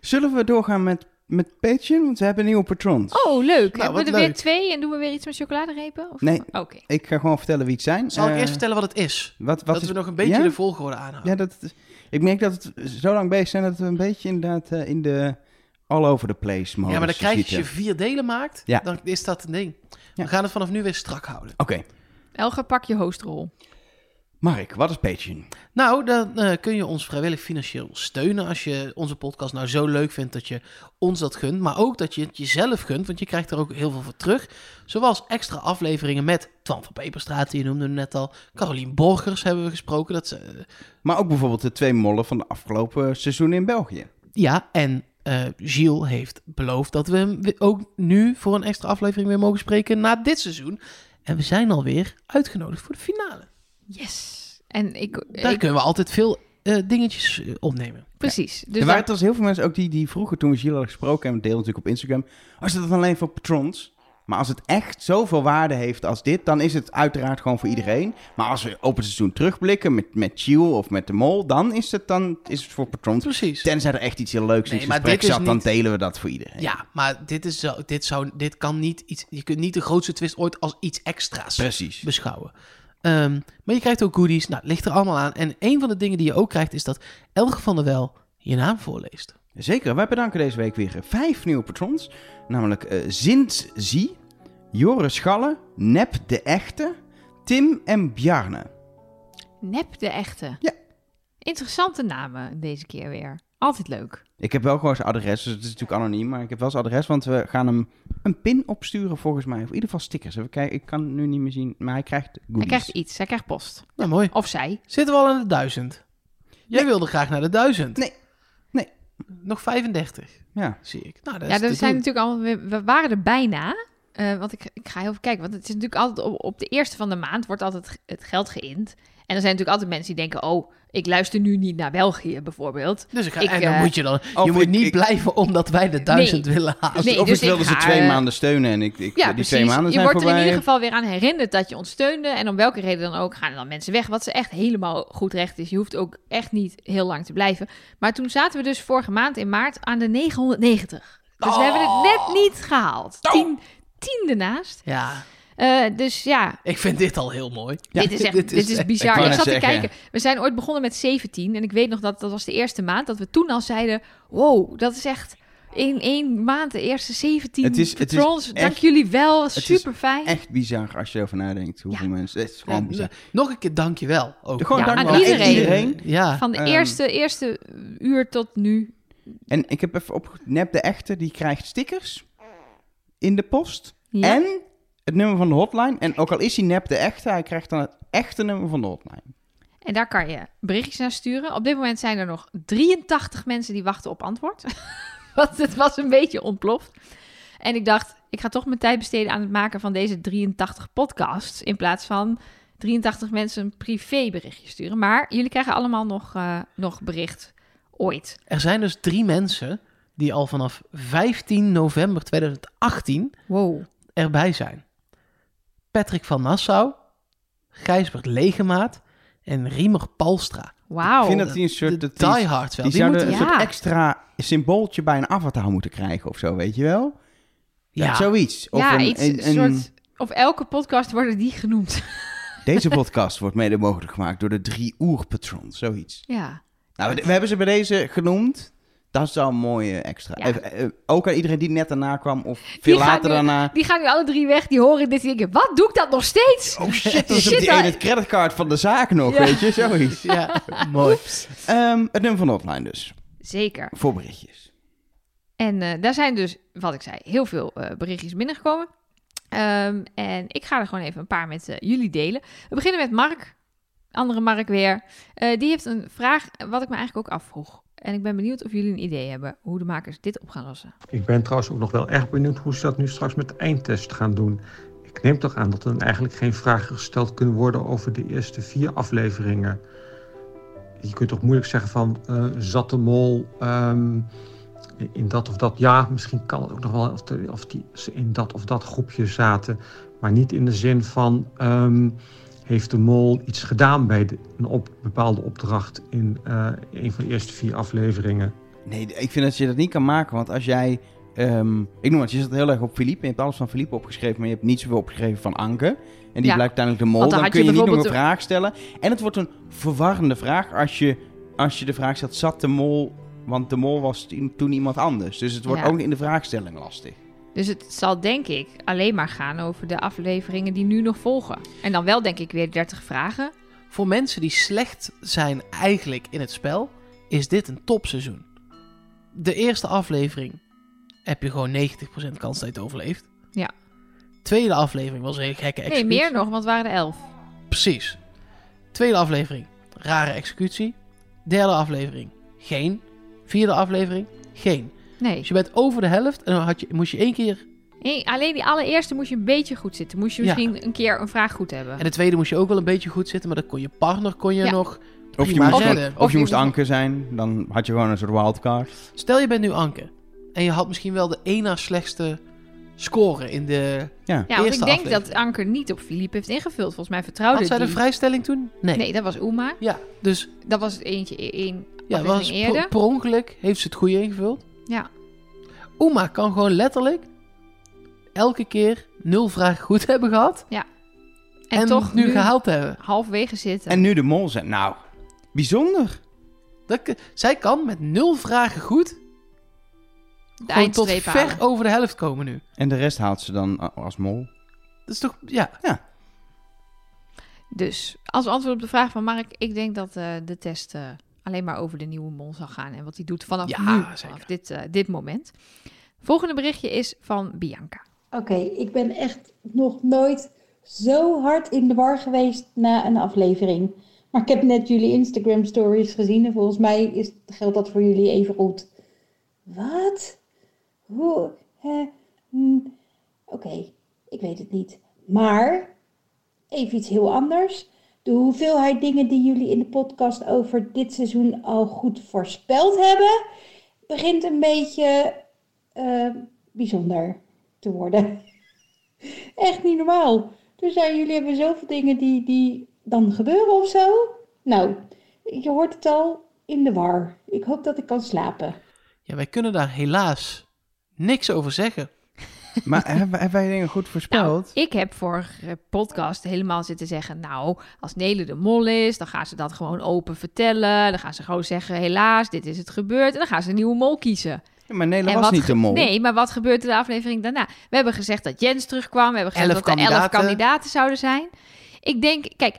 S1: Zullen we doorgaan met, met Patreon? Want we hebben nieuwe patrons.
S3: Oh, leuk.
S2: Nou,
S3: Hebben we
S2: wat
S3: er weer
S2: leuk.
S3: twee en doen we weer iets met chocoladerepen? Of...
S1: Nee.
S3: Oké.
S1: Ik ga gewoon vertellen wie het zijn.
S2: Zal ik
S1: Eh,
S2: eerst vertellen wat het is?
S1: wat, wat
S2: dat
S1: is-
S2: we nog een beetje
S1: ja?
S2: de volgorde aanhouden.
S1: Ja, dat, is- ik merk dat we zo lang bezig zijn dat we een beetje inderdaad eh, in de all over the place
S2: Oh, Ja,
S1: modus
S2: maar dan krijg je als je
S1: schieten.
S2: vier delen maakt,
S1: Ja.
S2: dan is dat een ding.
S1: Ja.
S2: We gaan het vanaf nu weer strak houden.
S1: Oké,
S3: Elga, pak je hostrol.
S1: Mark, wat is Patreon?
S2: Nou, dan eh, kun je ons vrijwillig financieel steunen als je onze podcast nou zo leuk vindt dat je ons dat gunt. Maar ook dat je het jezelf gunt, want je krijgt er ook heel veel voor terug. Zoals extra afleveringen met Twan van Peperstraat, die je noemde hem net al. Carolien Borgers hebben we gesproken. Dat, ze, eh,
S1: Maar ook bijvoorbeeld de twee mollen van de afgelopen seizoen in België.
S2: ja, en eh Gilles heeft beloofd dat we hem wi- ook nu voor een extra aflevering weer mogen spreken na dit seizoen. En we zijn alweer uitgenodigd voor de finale.
S3: Yes. En ik...
S2: Daar
S3: ik-
S2: kunnen we altijd veel eh, dingetjes eh, opnemen.
S3: precies. Dus
S1: er waren
S3: dan-
S1: trouwens heel veel mensen ook die, die vroeger toen we Gilles hadden gesproken... en we deelden natuurlijk op Instagram... als dat dan alleen voor patrons? Maar als het echt zoveel waarde heeft als dit... dan is het uiteraard gewoon voor iedereen. Maar als we op het seizoen terugblikken met, met Gilles of met de mol... dan is het, dan, is het voor patrons.
S2: Precies.
S1: Tenzij er echt iets heel leuks in
S2: Nee,
S1: het
S2: maar
S1: gesprek
S2: dit is
S1: zat... dan
S2: niet-
S1: delen we dat voor iedereen.
S2: Ja, maar dit, is zo, dit, zou, dit kan niet iets. Je kunt niet de grootste twist ooit als iets extra's
S1: Precies.
S2: beschouwen. Ehm, maar je krijgt ook goodies. Nou, het ligt er allemaal aan. En een van de dingen die je ook krijgt is dat Elge van der Wel je naam voorleest.
S1: Zeker, wij bedanken deze week weer vijf nieuwe patrons. Namelijk eh Zint Zie, Joris Schalle, Nep de Echte, Tim en Bjarne.
S3: Nep de echte.
S1: Ja.
S3: Interessante namen deze keer weer. Altijd leuk.
S1: Ik heb wel gewoon zijn adres, dus het is natuurlijk anoniem, maar ik heb wel zijn adres, want we gaan hem een pin opsturen volgens mij. Of in ieder geval stickers. Even kijken, ik kan het nu niet meer zien, maar hij krijgt goodies.
S3: Hij krijgt iets. Hij krijgt post.
S2: Nou, mooi.
S3: Of zij.
S2: Zitten we al aan de duizend? Jij
S1: Nee.
S2: wilde graag naar de duizend.
S1: Nee. Nee.
S2: Nog 35,
S1: Ja.
S2: zie ik. Nou, dat
S3: Ja,
S2: is
S3: dat
S2: te
S3: zijn
S2: doen.
S3: natuurlijk allemaal. We, we waren er bijna. Eh, want ik, ik ga heel even kijken. Want het is natuurlijk altijd op, op de eerste van de maand wordt altijd ge- het geld geïnd. En er zijn natuurlijk altijd mensen die denken: Oh, ik luister nu niet naar België bijvoorbeeld.
S2: Dus ik ga,
S3: Ik,
S2: en dan
S3: eh,
S2: moet je dan... Je
S1: ik-
S2: moet niet
S1: ik-
S2: blijven omdat wij de duizend willen halen.
S3: Nee,
S1: of
S3: dus
S1: ik wilde
S3: ik
S1: ze
S3: ga,
S1: twee
S3: eh,
S1: maanden steunen en ik, ik,
S3: Ja,
S1: die
S3: precies.
S1: twee maanden
S3: je
S1: zijn
S3: wordt er in
S1: voorbij.
S3: ieder geval weer aan herinnerd dat je ons steunde. En om welke reden dan ook gaan er dan mensen weg. Wat ze echt helemaal goed recht is. Je hoeft ook echt niet heel lang te blijven. Maar toen zaten we dus vorige maand in maart aan de 990. Dus we hebben het
S1: Oh.
S3: net niet gehaald. Tien, tiende naast.
S2: Ja,
S3: Eh, dus ja,
S2: ik vind dit al heel mooi.
S3: dit is echt dit is, bizar.
S1: Ik wou
S3: Ik, zat
S1: net
S3: te
S1: zeggen.
S3: kijken. We zijn ooit begonnen met 17. En ik weet nog dat dat was de eerste maand. Dat we toen al zeiden: wow, dat is echt. In één maand de eerste 17
S1: Het is- het is
S3: patrons. Dank
S1: echt-
S3: jullie wel.
S1: is
S3: Super fijn.
S1: Echt bizar als je erover nadenkt hoeveel mensen... Het is gewoon
S2: Ja,
S1: bizar.
S2: Nog een keer dankjewel. Ook.
S1: Gewoon
S3: Ja,
S1: dank
S3: aan
S1: wel. Echt
S3: iedereen.
S2: Ja,
S3: Van de
S1: Ehm,
S3: eerste, eerste uur tot nu.
S1: En ik heb even op Nep de Echte, die krijgt stickers in de post.
S3: Ja.
S1: En het nummer van de hotline. En ook al is hij nep de echte, hij krijgt dan het echte nummer van de hotline.
S3: En daar kan je berichtjes naar sturen. Op dit moment zijn er nog 83 mensen die wachten op antwoord. Want het was een beetje ontploft. En ik dacht, ik ga toch mijn tijd besteden aan het maken van deze 83 podcasts. In plaats van 83 mensen een privéberichtje sturen. Maar jullie krijgen allemaal nog, eh, nog bericht ooit.
S2: er zijn dus drie mensen die al vanaf 15 november 2018
S3: Wow.
S2: erbij zijn. Patrick van Nassau, Gijsbert Legemaat en Riemer Palstra.
S3: Wauw.
S1: ik vind dat die een soort...
S2: de
S1: dat die-
S2: die hard wel.
S1: die
S2: Die
S1: zouden
S2: moeten-
S1: een
S3: Ja.
S1: soort extra symbooltje bij een avatar moeten krijgen of zo, weet je wel?
S2: ja,
S1: Zoiets. Of
S3: ja,
S1: een,
S3: iets,
S1: een-
S3: een
S1: een-
S3: soort... Of elke podcast worden die genoemd.
S1: Deze podcast wordt mede mogelijk gemaakt door de drie oerpatrons, zoiets.
S3: ja.
S1: Nou, we, we hebben ze bij deze genoemd. Dat is wel een mooie extra.
S3: Ja.
S1: Even, eh, ook aan iedereen die net daarna kwam of veel
S3: gaan
S1: later
S3: nu-
S1: daarna.
S3: Die gaan nu alle drie weg, die horen dit, die denken, wat, doe ik dat nog steeds?
S1: Oh shit, dat is op die
S3: dat-
S1: ene het creditcard van de zaak nog,
S3: Ja.
S1: weet je, zoiets.
S2: ja, mooi.
S1: Ehm, het nummer van de hotline dus,
S3: Zeker.
S1: voor berichtjes.
S3: En eh, daar zijn dus, wat ik zei, heel veel eh, berichtjes binnengekomen. Ehm, en ik ga er gewoon even een paar met eh, jullie delen. We beginnen met Mark, andere Mark weer. Eh, die heeft een vraag, eh, wat ik me eigenlijk ook afvroeg. En ik ben benieuwd of jullie een idee hebben hoe de makers dit op gaan lossen.
S4: Ik ben trouwens ook nog wel erg benieuwd hoe ze dat nu straks met de eindtest gaan doen. Ik neem toch aan dat er dan eigenlijk geen vragen gesteld kunnen worden over de eerste vier afleveringen. Je kunt toch moeilijk zeggen van eh zat de mol ehm, in dat of dat. Ja, misschien kan het ook nog wel of, de- of die, ze in dat of dat groepje zaten. Maar niet in de zin van ehm, heeft de mol iets gedaan bij de- een op, bepaalde opdracht in eh, een van de eerste vier afleveringen.
S1: Nee, ik vind dat je dat niet kan maken, want als jij... ehm, ik noem het, je zat heel erg op Philippe en je hebt alles van Philippe opgeschreven, maar je hebt niet zoveel opgeschreven van Anke. En die
S3: Ja.
S1: blijkt uiteindelijk de mol,
S3: Want dan
S1: dan
S3: had
S1: kun je
S3: je
S1: niet nog een
S3: bijvoorbeeld
S1: vraag stellen. En het wordt een verwarrende vraag als je, als je de vraag stelt, zat de mol... Want de mol was toen iemand anders, dus het wordt
S3: Ja.
S1: ook in de vraagstelling lastig.
S3: Dus het zal denk ik alleen maar gaan over de afleveringen die nu nog volgen. En dan wel denk ik weer 30 vragen.
S2: Voor mensen die slecht zijn eigenlijk in het spel, is dit een topseizoen. De eerste aflevering heb je gewoon 90% kans dat je het overleeft.
S3: Ja.
S2: Tweede aflevering was een hele gekke
S3: Nee,
S2: executie.
S3: meer nog, want het waren er 11.
S2: Precies. Tweede aflevering, rare executie. Derde aflevering, geen. Vierde aflevering, geen.
S3: Nee.
S2: Dus je bent over de helft en dan had je, moest je één keer...
S3: Nee, alleen die allereerste moest je een beetje goed zitten. Moest je
S2: Ja.
S3: misschien een keer een vraag goed hebben.
S2: En de tweede moest je ook wel een beetje goed zitten, maar dan kon je partner kon je
S3: Ja.
S2: nog...
S1: Of je,
S2: prima
S1: moest,
S3: Of je-
S2: redden.
S1: of je moest
S3: moest-
S1: Anke zijn, dan had je gewoon een soort wildcard.
S2: Stel je bent nu Anke. En je had misschien wel de één na slechtste score in de...
S3: ja, want ik
S2: eerste
S3: denk
S2: aflevering.
S3: dat Anker niet op Philippe heeft ingevuld. Volgens mij vertrouwde
S2: Had zij de
S3: die-
S2: vrijstelling toen? Nee.
S3: Nee, dat was Uma.
S2: Ja, dus
S3: Dat was het eentje één
S2: ja,
S3: aflevering
S2: was
S3: eerder.
S2: per, per ongeluk heeft ze het goede ingevuld.
S3: Ja.
S2: Oema kan gewoon letterlijk elke keer nul vragen goed hebben gehad.
S3: Ja. En, toch
S2: nu gehaald hebben.
S3: halfwege zitten.
S1: En nu de mol zijn. Nou, bijzonder.
S2: Dat, k- zij kan met nul vragen goed
S3: de
S2: gewoon tot
S3: eindstreep
S2: ver
S3: halen.
S2: over de helft komen nu.
S1: En de rest haalt ze dan a- als mol.
S2: Dat is toch, ja.
S3: Dus als antwoord op de vraag van Mark, ik denk dat eh, de test eh, alleen maar over de nieuwe mol zal gaan en wat hij doet vanaf
S2: Ja,
S3: nu,
S2: zeker.
S3: vanaf dit, eh, dit moment. Volgende berichtje is van Bianca.
S5: Oké, ik ben echt nog nooit zo hard in de war geweest na een aflevering. Maar ik heb net jullie Instagram stories gezien en volgens mij is, geldt dat voor jullie even goed. Wat? Hoe? hè, hm, Oké, ik weet het niet. Maar even iets heel anders. De hoeveelheid dingen die jullie in de podcast over dit seizoen al goed voorspeld hebben, begint een beetje eh, bijzonder te worden. Echt niet normaal. Dus ja, jullie hebben zoveel dingen die, die dan gebeuren of zo. Nou, je hoort het al in de war. Ik hoop dat ik kan slapen.
S2: Ja, wij kunnen daar helaas niks over zeggen.
S1: Maar hebben, hebben wij dingen goed
S3: Nou,
S1: voorspeld?
S3: ik heb vorige podcast helemaal zitten zeggen, nou, als Nele de mol is, dan gaan ze dat gewoon open vertellen. Dan gaan ze gewoon zeggen, helaas, dit is het gebeurd. En dan gaan ze een nieuwe mol kiezen.
S1: Ja, maar Nederland
S3: En
S1: was
S3: wat
S1: niet
S3: ge-
S1: de mol.
S3: Nee, maar wat gebeurt er de aflevering daarna? We hebben gezegd dat Jens terugkwam. We hebben gezegd
S2: Elf
S3: dat er elf
S2: kandidaten.
S3: kandidaten zouden zijn. Ik denk, kijk,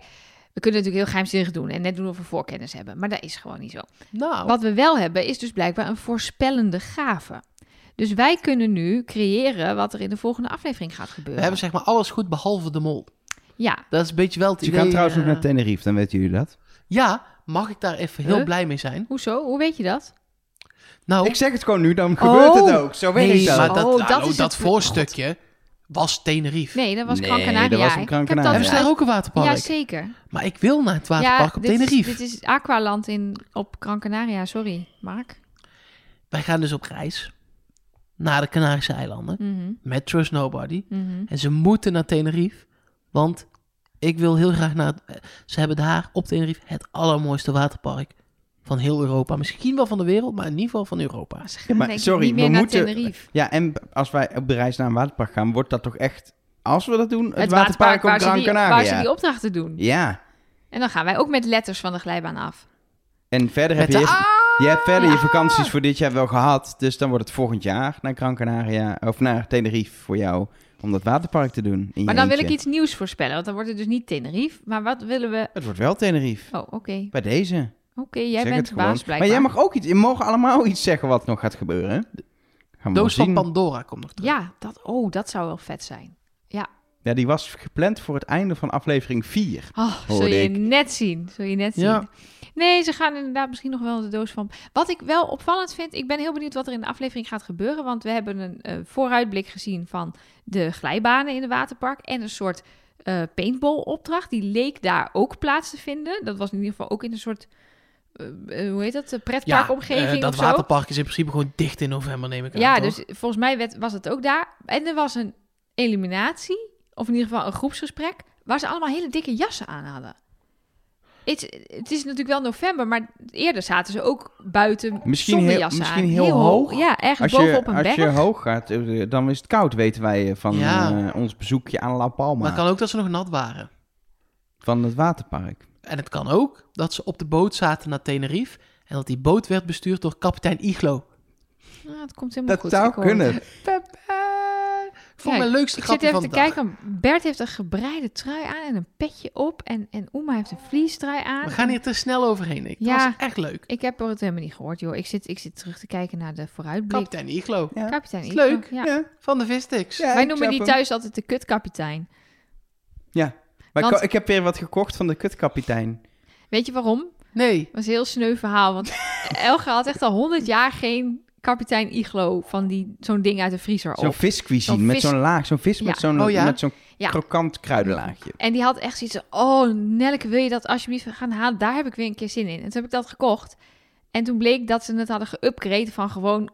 S3: we kunnen natuurlijk heel geheimzinnig doen en net doen of we voorkennis hebben. Maar dat is gewoon niet zo.
S2: Nou,
S3: Wat we wel hebben is dus blijkbaar een voorspellende gave. Dus wij kunnen nu creëren wat er in de volgende aflevering gaat
S2: we
S3: gebeuren.
S2: hebben zeg maar alles goed behalve de mol.
S3: Ja,
S2: Dat is een beetje wel het
S1: Dus je
S2: idee.
S1: gaat trouwens
S2: eh,
S1: nog naar Tenerife, dan weten jullie dat.
S2: Ja, mag ik daar even heel
S3: Huh?
S2: blij mee zijn?
S3: hoezo? Hoe weet je dat?
S2: Nou,
S1: Ik zeg het gewoon nu, dan gebeurt het ook. Zo weet
S2: Oh. nee,
S1: ik dat.
S2: maar dat,
S3: Oh, dat
S2: hallo,
S3: is het-
S2: dat voorstukje was Tenerife.
S3: Nee, dat was
S1: Nee,
S3: Gran Canaria.
S1: dat was een
S3: Ik
S1: Gran
S3: heb dat- dus
S1: Canaria.
S2: Hebben ze daar ook een waterpark?
S3: Ja, zeker.
S2: maar ik wil naar het waterpark op
S3: dit is-
S2: Tenerife.
S3: dit is Aqualand in, op Gran Canaria, sorry, Mark.
S2: Wij gaan dus op reis naar de Canarische eilanden
S3: Mhm,
S2: met Trust Nobody.
S3: mhm.
S2: En ze moeten naar Tenerife, want ik wil heel graag naar... het- Ze hebben daar op Tenerife het allermooiste waterpark van heel Europa. Misschien wel van de wereld, maar in ieder geval van Europa.
S3: Maar ze gaan
S1: Ja, maar
S3: denk ik
S1: sorry,
S3: niet meer
S1: we
S3: naar
S1: moeten-
S3: Tenerife.
S1: Ja, en b- als wij op de reis naar een waterpark gaan, wordt dat toch echt, als we dat doen, het,
S3: Het
S1: waterpark,
S3: waar,
S1: op Gran
S3: ze die,
S1: Canaria.
S3: waar ze die opdrachten doen.
S1: Ja,
S3: En dan gaan wij ook met letters van de glijbaan af.
S1: en verder
S2: Met
S1: heb
S2: de
S1: je, je hebt verder
S3: Ah!
S1: je vakanties voor dit jaar wel gehad, dus dan wordt het volgend jaar naar Gran Canaria, of naar Tenerife voor jou, om dat waterpark te doen in je
S3: Maar dan wil ik
S1: eentje.
S3: iets nieuws voorspellen, want dan wordt het dus niet Tenerife. Maar wat willen we...
S1: Het wordt wel Tenerife,
S3: Oh, oké.
S1: bij deze.
S3: Oké, jij
S1: zeg
S3: bent
S1: het gewoon.
S3: baas blijkbaar.
S1: Maar jij mag ook iets, je mag allemaal iets zeggen wat nog gaat gebeuren. hè? Gaan we wel
S2: Doos van
S1: zien.
S2: Pandora komt nog terug.
S3: Ja, dat, oh, dat zou wel vet zijn.
S1: Ja, die was gepland voor het einde van aflevering 4.
S3: Oh, zul
S1: Hoorde
S3: je
S1: ik.
S3: net zien. Zul je net zien.
S2: Ja.
S3: Nee, ze gaan inderdaad misschien nog wel de doos van... Wat ik wel opvallend vind, ik ben heel benieuwd wat er in de aflevering gaat gebeuren. Want we hebben een eh, vooruitblik gezien van de glijbanen in het waterpark. En een soort eh paintball opdracht. Die leek daar ook plaats te vinden. Dat was in ieder geval ook in een soort... eh, eh, hoe heet dat? eh, Pretparkomgeving
S2: eh, dat
S3: of zo.
S2: waterpark is in principe gewoon dicht in november, neem ik aan.
S3: Ja,
S2: toch?
S3: dus volgens mij werd- was het ook daar. En er was een eliminatie, of in ieder geval een groepsgesprek, waar ze allemaal hele dikke jassen aan hadden. Het, het is natuurlijk wel november, maar eerder zaten ze ook buiten
S1: Misschien
S3: zonder
S1: heel-
S3: jassen
S1: misschien
S3: aan.
S1: heel hoog.
S3: Ja, ergens
S1: Als
S3: bovenop
S1: je,
S3: een
S1: als
S3: berg.
S1: je hoog gaat, eh, dan is het koud, weten wij eh, van
S2: Ja.
S1: eh, ons bezoekje aan La Palma.
S2: Maar het kan ook dat ze nog nat waren.
S1: Van het waterpark.
S2: En het kan ook dat ze op de boot zaten naar Tenerife. En dat die boot werd bestuurd door kapitein Iglo.
S3: Ah, het komt helemaal
S1: Dat
S3: goed.
S1: zou
S3: ik hoor het.
S1: kunnen.
S2: Voor mijn
S3: Kijk,
S2: leukste
S3: Ik zit
S2: grapje
S3: even
S2: van
S3: te
S2: de dag.
S3: kijken. Bert heeft een gebreide trui aan en een petje op. En, en Oema heeft een vliestrui aan.
S2: We gaan hier te snel overheen. Ik,
S3: Ja.
S2: Dat was echt leuk.
S3: Ik heb het helemaal niet gehoord, joh. Ik zit, ik zit terug te kijken naar de vooruitblik.
S2: Kapitein Iglo
S1: Ja.
S3: Kapitein
S2: Is
S3: Iglo,
S2: leuk.
S3: ja.
S2: van de Vistix.
S1: Ja,
S3: Wij
S1: ik
S3: noemen
S1: snap
S3: die
S1: hem.
S3: thuis altijd de kutkapitein.
S1: Maar ik
S3: Want-
S1: ko- ik heb weer wat gekocht van de kutkapitein.
S3: Weet je waarom?
S2: Nee.
S3: Het was een heel sneu verhaal. Want Elga had echt al honderd jaar geen kapitein Iglo van die zo'n ding uit de vriezer
S1: Zo'n
S3: op.
S1: viscuisine
S3: Oh. Zo'n
S1: met
S3: vis-
S1: zo'n laag. Zo'n vis
S3: Ja.
S1: met zo'n
S2: Oh ja?
S1: met zo'n
S3: Ja.
S1: krokant kruidenlaagje.
S3: En die had echt zoiets van, oh Nelke, wil je dat alsjeblieft gaan halen? Daar heb ik weer een keer zin in. En toen heb ik dat gekocht. En toen bleek dat ze het hadden geüpgrade van gewoon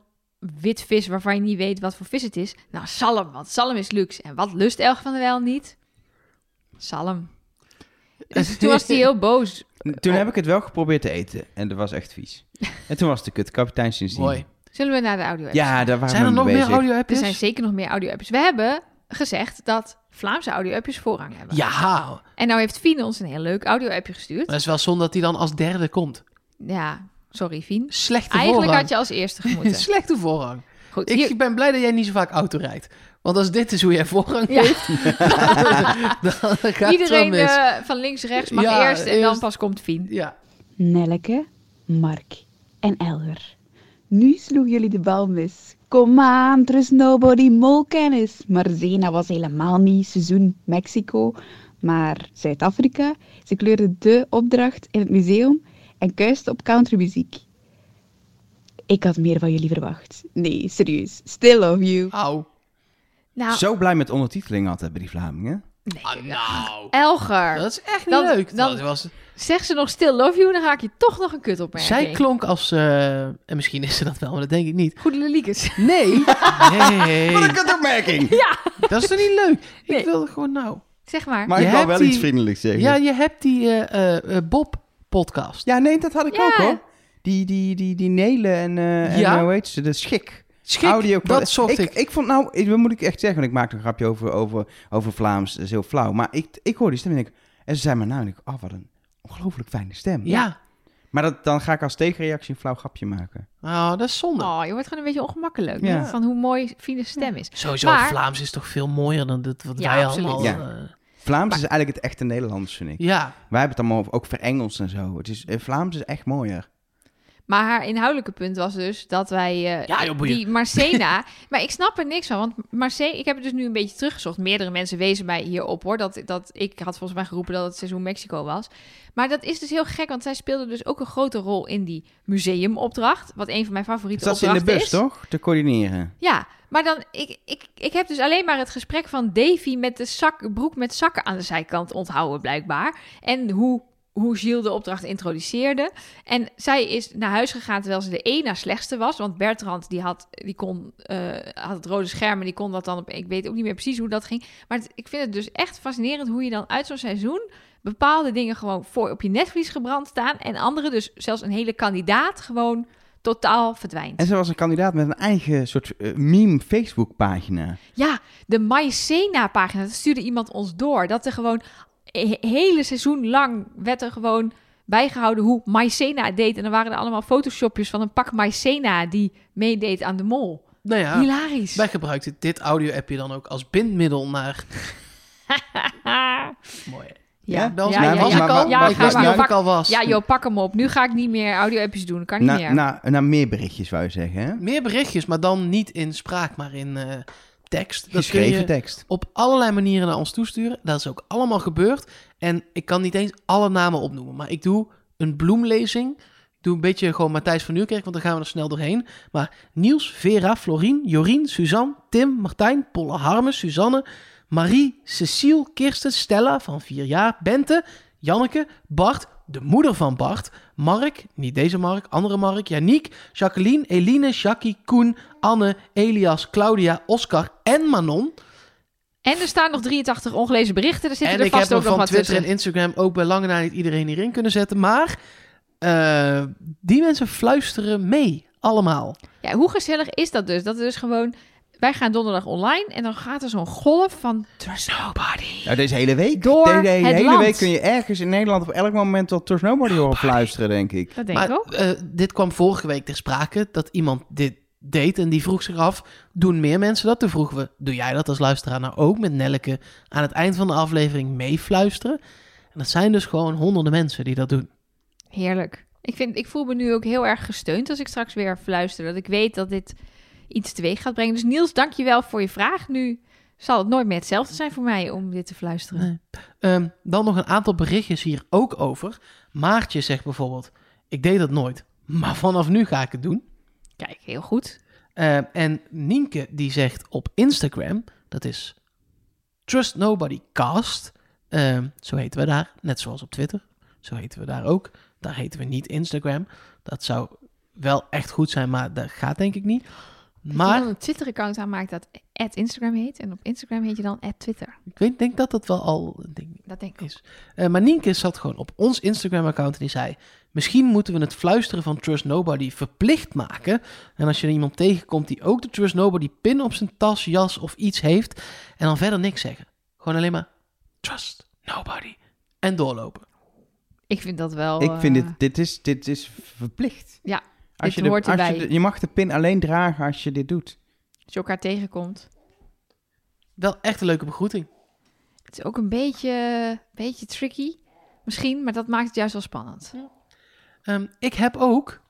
S3: wit vis waarvan je niet weet wat voor vis het is. Nou, zalm, want zalm is luxe. En wat lust Elga van der Wel niet? Zalm. Dus toen was hij heel boos.
S1: Toen
S3: Oh.
S1: heb ik het wel geprobeerd te eten. En dat was echt vies. En toen was het de kutkapitein sindsdien.
S2: Mooi.
S3: Zullen we naar de audio
S1: Ja, daar waren
S2: Zijn
S1: we
S2: er nog
S1: mee
S2: meer
S1: bezig.
S2: audio
S3: Er zijn zeker nog meer audio-apps. We hebben eh, gezegd dat Vlaamse audio-appjes voorrang hebben.
S2: Ja, Eh. maar
S3: En nou heeft Fien ons een heel leuk audio-appje gestuurd.
S2: dat is wel zonde dat hij dan als derde komt.
S3: Ja, sorry Fien.
S2: Slechte
S3: Eigenlijk had
S2: voorrang.
S3: je als eerste gemoeten.
S2: Slechte voorrang.
S3: Goed,
S2: Ik
S3: hier-
S2: ben blij dat jij niet zo vaak auto rijdt. Want als dit is hoe jij voorrang
S3: Ja.
S2: geeft, dan, dan gaat het
S3: iedereen
S2: wel mis.
S3: eh, van links rechts mag
S2: Ja,
S3: eerst en dan
S2: eerst.
S3: pas komt Fien.
S2: Ja.
S6: Nelleke, Mark en Elger. Nu sloegen jullie de bal mis. Kom aan, er is nobody molkennis. Maar Zena was helemaal niet seizoen Mexico, maar Zuid-Afrika. Ze kleurde de opdracht in het museum en kuiste op countrymuziek. Ik had meer van jullie verwacht. Nee, serieus. Still love you.
S2: Au.
S3: Nou,
S1: Zo blij met ondertiteling altijd bij die Vlamingen.
S3: nee,
S2: Ah, nou.
S3: Elger,
S2: Dat is echt niet
S3: Dan-
S2: leuk.
S3: dan-
S2: Dat was,
S3: zeg ze nog stil love you, dan haak je toch nog een kut op
S2: zij klonk als... eh, en misschien is ze dat wel, maar dat denk ik niet.
S3: Goede leliekes.
S2: Nee. Nee.
S1: Wat een kutopmerking!
S2: Dat is toch niet leuk?
S3: Nee.
S2: Ik wilde gewoon nou...
S3: Zeg maar.
S1: Maar
S2: Je
S1: ik wil
S2: hebt
S1: wel
S2: die-
S1: iets vriendelijks zeggen.
S2: Ja,
S1: Ja,
S2: je hebt die eh, eh, eh, Bob-podcast.
S1: nee, dat had ik
S3: Ja.
S1: ook hoor. Die, die, die, die Nelen en, eh, en
S2: Ja.
S1: eh, hoe heet ze, de schik.
S2: Schik,
S1: Audio-
S2: dat zocht ik.
S1: ik. vond nou, ik, dat moet ik echt zeggen, want ik maakte een grapje over, over, over Vlaams, dat is heel flauw. Maar ik, ik hoorde die stem en ik, en ze zei mijn naam en ik, oh wat een ongelooflijk fijne stem.
S2: Ja.
S1: Maar dat, dan ga ik als tegenreactie een flauw grapje maken.
S2: Oh, dat is zonde.
S3: Oh, je wordt gewoon een beetje ongemakkelijk
S1: Ja.
S3: van hoe mooi Fine's stem is.
S2: Sowieso,
S3: Maar-
S2: Vlaams is toch veel mooier dan dit, wat
S3: Ja,
S2: wij
S3: absoluut.
S2: allemaal...
S1: Ja.
S2: eh,
S1: Vlaams is eigenlijk het echte Nederlands, vind ik.
S2: ja.
S1: Wij hebben het allemaal ook verengels en zo. Het is, eh, Vlaams is echt mooier.
S3: Maar haar inhoudelijke punt was dus dat wij eh,
S2: Ja, joh, boeien.
S3: die Marcena... maar ik snap er niks van, want Marcena... Ik heb het dus nu een beetje teruggezocht. Meerdere mensen wezen mij hierop, hoor. Dat, dat, ik had volgens mij geroepen dat het seizoen Mexico was. Maar dat is dus heel gek, want zij speelde dus ook een grote rol in die museumopdracht. Wat een van mijn favoriete
S1: Zat ze in de
S3: opdrachten
S1: bus,
S3: is.
S1: toch? Te coördineren.
S3: Ja, maar dan, ik, ik, ik heb dus alleen maar het gesprek van Davy met de zak, broek met zakken aan de zijkant onthouden, blijkbaar. En hoe, hoe Gilles de opdracht introduceerde. En zij is naar huis gegaan terwijl ze de één na slechtste was. Want Bertrand, die had, die kon, eh, had het rode scherm en die kon dat dan op... Ik weet ook niet meer precies hoe dat ging. Maar het- ik vind het dus echt fascinerend hoe je dan uit zo'n seizoen... bepaalde dingen gewoon voor op je netvlies gebrand staan... en andere, dus zelfs een hele kandidaat, gewoon totaal verdwijnt.
S1: En ze was een kandidaat met een eigen soort eh, meme Facebook-pagina.
S3: Ja, de Maicena-pagina, dat stuurde iemand ons door. Dat er gewoon he- hele seizoen lang werd er gewoon bijgehouden hoe Maicena het deed. En dan waren er allemaal photoshopjes van een pak Maicena die meedeed aan de mol.
S2: Nou ja.
S3: Hilarisch.
S2: Wij gebruikten dit audio-appje dan ook als bindmiddel naar...
S3: Ah. ja,
S2: Mooi. hè?
S3: ja,
S2: dat was
S3: ja,
S1: mijn
S3: ja,
S1: was,
S3: ja,
S1: maar-
S3: kan-
S1: maar-
S3: ja,
S1: maar-
S2: ik
S3: ga
S2: wist
S1: maar-
S2: niet of
S3: pak-
S2: ik al was.
S3: nou- Ja, joh, pak hem op. Nu ga ik niet meer audio-appjes doen. Kan niet
S2: Nou,
S1: Na,
S3: meer.
S1: na, naar meer berichtjes, wou je zeggen. Hè?
S2: Meer berichtjes, maar dan niet in spraak, maar in eh, tekst. Dat kun
S1: Geschreven
S2: je
S1: tekst.
S2: op allerlei manieren naar ons toesturen. Dat is ook allemaal gebeurd. En ik kan niet eens alle namen opnoemen. Maar ik doe een bloemlezing. Ik doe een beetje gewoon Matthijs van Nieuwkerk, want dan gaan we er snel doorheen. Maar Niels, Vera, Florien, Jorien, Suzanne, Tim, Martijn, Polle, Harme, Suzanne, Marie, Cecile, Kirsten, Stella van 4 jaar, Bente, Janneke, Bart, de moeder van Bart, Mark, niet deze Mark, andere Mark, Janiek, Jacqueline, Eline, Jackie, Koen, Anne, Elias, Claudia, Oscar en Manon.
S3: En er staan nog 83 ongelezen berichten. Er zitten
S2: En
S3: er
S2: ik heb
S3: vast
S2: er
S3: ook nog
S2: van
S3: wat
S2: Twitter en
S3: tussen.
S2: Instagram ook bij lange na niet iedereen hierin kunnen zetten. Maar eh, die mensen fluisteren mee, allemaal.
S3: Ja, hoe gezellig is dat dus? Dat is dus gewoon... Wij gaan donderdag online en dan gaat er zo'n golf van... There's nobody.
S1: Nou, deze hele week.
S3: Door
S1: deze hele,
S3: het
S1: hele
S3: land. Oh,
S1: week kun je ergens in Nederland op elk moment wel Tour Snowboardy horen fluisteren, denk ik.
S3: Dat denk
S2: maar
S3: ik ook.
S2: eh, dit kwam vorige week ter sprake, dat iemand dit deed. En die vroeg zich af, doen meer mensen dat? Toen vroegen we, doe jij dat als luisteraar nou ook met Nelleke aan het eind van de aflevering meefluisteren? En dat zijn dus gewoon honderden mensen die dat doen.
S3: Heerlijk. Ik, vind, ik voel me nu ook heel erg gesteund als ik straks weer fluister. Dat ik weet dat dit iets teweeg gaat brengen. Dus Niels, dank je wel voor je vraag. Nu zal het nooit meer hetzelfde zijn voor mij om dit te fluisteren.
S2: Nee. Ehm, dan nog een aantal berichtjes hier ook over. Maartje zegt bijvoorbeeld: Ik deed dat nooit, maar vanaf nu ga ik het doen.
S3: Kijk, heel goed.
S2: Ehm, en Nienke die zegt op Instagram: Dat is Trust Nobody Cast. Ehm, zo heten we daar, net zoals op Twitter. Zo heten we daar ook. Daar heten we niet Instagram. Dat zou wel echt goed zijn, maar dat gaat denk ik niet.
S3: Maar...
S2: Maar
S3: een Twitter-account aanmaakt dat Instagram heet. En op Instagram heet je dan Twitter.
S2: ik weet, denk dat dat wel al een ding
S3: Dat denk ik. ook.
S2: is. Eh, maar Nienke zat gewoon op ons Instagram-account en die zei... Misschien moeten we het fluisteren van Trust Nobody verplicht maken. En als je er iemand tegenkomt die ook de Trust Nobody pin op zijn tas, jas of iets heeft... en dan verder niks zeggen. Gewoon alleen maar Trust Nobody. En doorlopen.
S3: Ik vind dat wel...
S1: Ik vind
S3: eh,
S1: dit, dit is, dit is verplicht.
S3: Ja,
S1: als je,
S3: dit
S1: de,
S3: hoort
S1: als je,
S3: erbij.
S1: de- je mag de pin alleen dragen als je dit doet.
S3: Dat je elkaar tegenkomt.
S2: Wel echt een leuke begroeting.
S3: Het is ook een beetje, beetje tricky. Misschien, maar dat maakt het juist wel spannend.
S2: Ehm, ik heb ook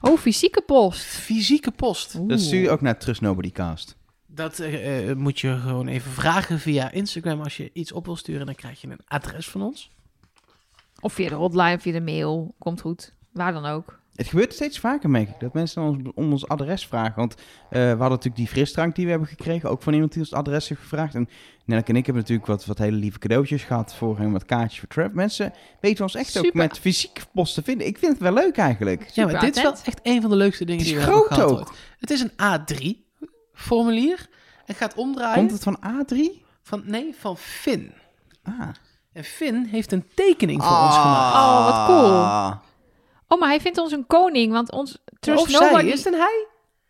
S3: Oh, fysieke post.
S2: fysieke post.
S1: Dat stuur je ook naar Trust Nobody Cast.
S2: Dat eh, eh, moet je gewoon even vragen via Instagram als je iets op wil sturen. Dan krijg je een adres van ons.
S3: Of via de hotline, via de mail. Komt goed. Waar dan ook.
S1: Het gebeurt steeds vaker, merk ik, dat mensen dan ons, om ons adres vragen. Want eh, we hadden natuurlijk die frisdrank die we hebben gekregen, ook van iemand die ons adres heeft gevraagd. En Nelke en ik hebben natuurlijk wat, wat hele lieve cadeautjes gehad voor hem, wat kaartjes voor Trap. Mensen weten ons echt ook
S3: Super.
S1: met fysiek post te vinden. Ik vind het wel leuk eigenlijk.
S2: Ja, maar
S3: Super
S2: dit is wel
S3: attent.
S2: echt een van de leukste dingen
S1: Het is
S2: die we hebben
S1: groot
S2: gehad
S1: ook.
S2: ooit. Het is een A3-formulier. Het gaat omdraaien
S1: Komt het van A3?
S2: van, nee, van Finn.
S1: Ah.
S2: En Finn heeft een tekening voor ons gemaakt.
S3: Oh, wat cool. Oh, maar hij vindt ons een koning, want ons Trust
S2: of
S3: Nobody...
S2: zij, is het een hij?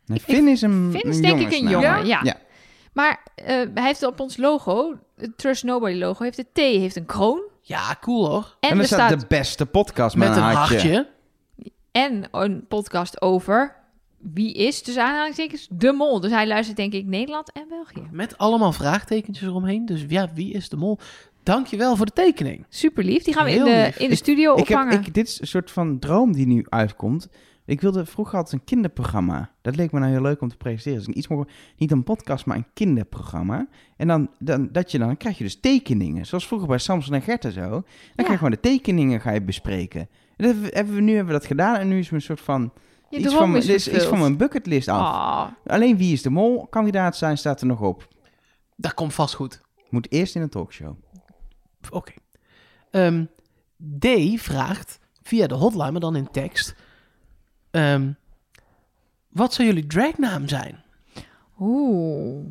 S1: Nee, Nou, Finn is een
S3: Finn is denk ik een
S1: jongensnaam.
S3: jongen, ja. Maar eh, hij heeft op ons logo, het Trust Nobody logo, heeft de T, heeft een kroon.
S2: Ja, cool hoor.
S3: En,
S1: En,
S3: er
S1: er
S3: staat
S1: staat de beste podcast met,
S2: Met een
S1: hartje.
S2: hartje.
S3: en een podcast over wie is, dus aanhalingstekens, de mol. Dus hij luistert denk ik Nederland en België.
S2: Met allemaal vraagtekentjes eromheen. Dus ja, wie is de mol? Dankjewel voor de tekening.
S3: Super lief. Die gaan we in
S2: Heel
S3: de,
S2: lief.
S3: in de studio
S1: Ik heb,
S3: opvangen.
S1: ik, dit is een soort van droom die nu uitkomt. Ik wilde vroeger altijd een kinderprogramma. Dat leek me nou heel leuk om te presenteren. Dus een iets meer, niet een podcast, maar een kinderprogramma. En dan, dan, dat je dan, dan krijg je dus tekeningen. Zoals vroeger bij Samson en Gert en zo. Dan ga je gewoon de tekeningen ga je bespreken. En dat hebben we- hebben we, nu hebben we dat gedaan en nu is mijn soort van...
S3: Je
S1: iets,
S3: droom
S1: van mijn-
S3: is
S1: dit is iets
S3: vervuld.
S1: van mijn bucketlist af.
S3: Ah,
S1: Alleen Wie is de Mol kandidaat zijn staat er nog op.
S2: Dat komt vast goed.
S1: Moet eerst in een talkshow.
S2: Oké. Ehm, D vraagt via de hotline, maar dan in tekst. ehm, wat zou jullie dragnaam zijn?
S3: Oeh.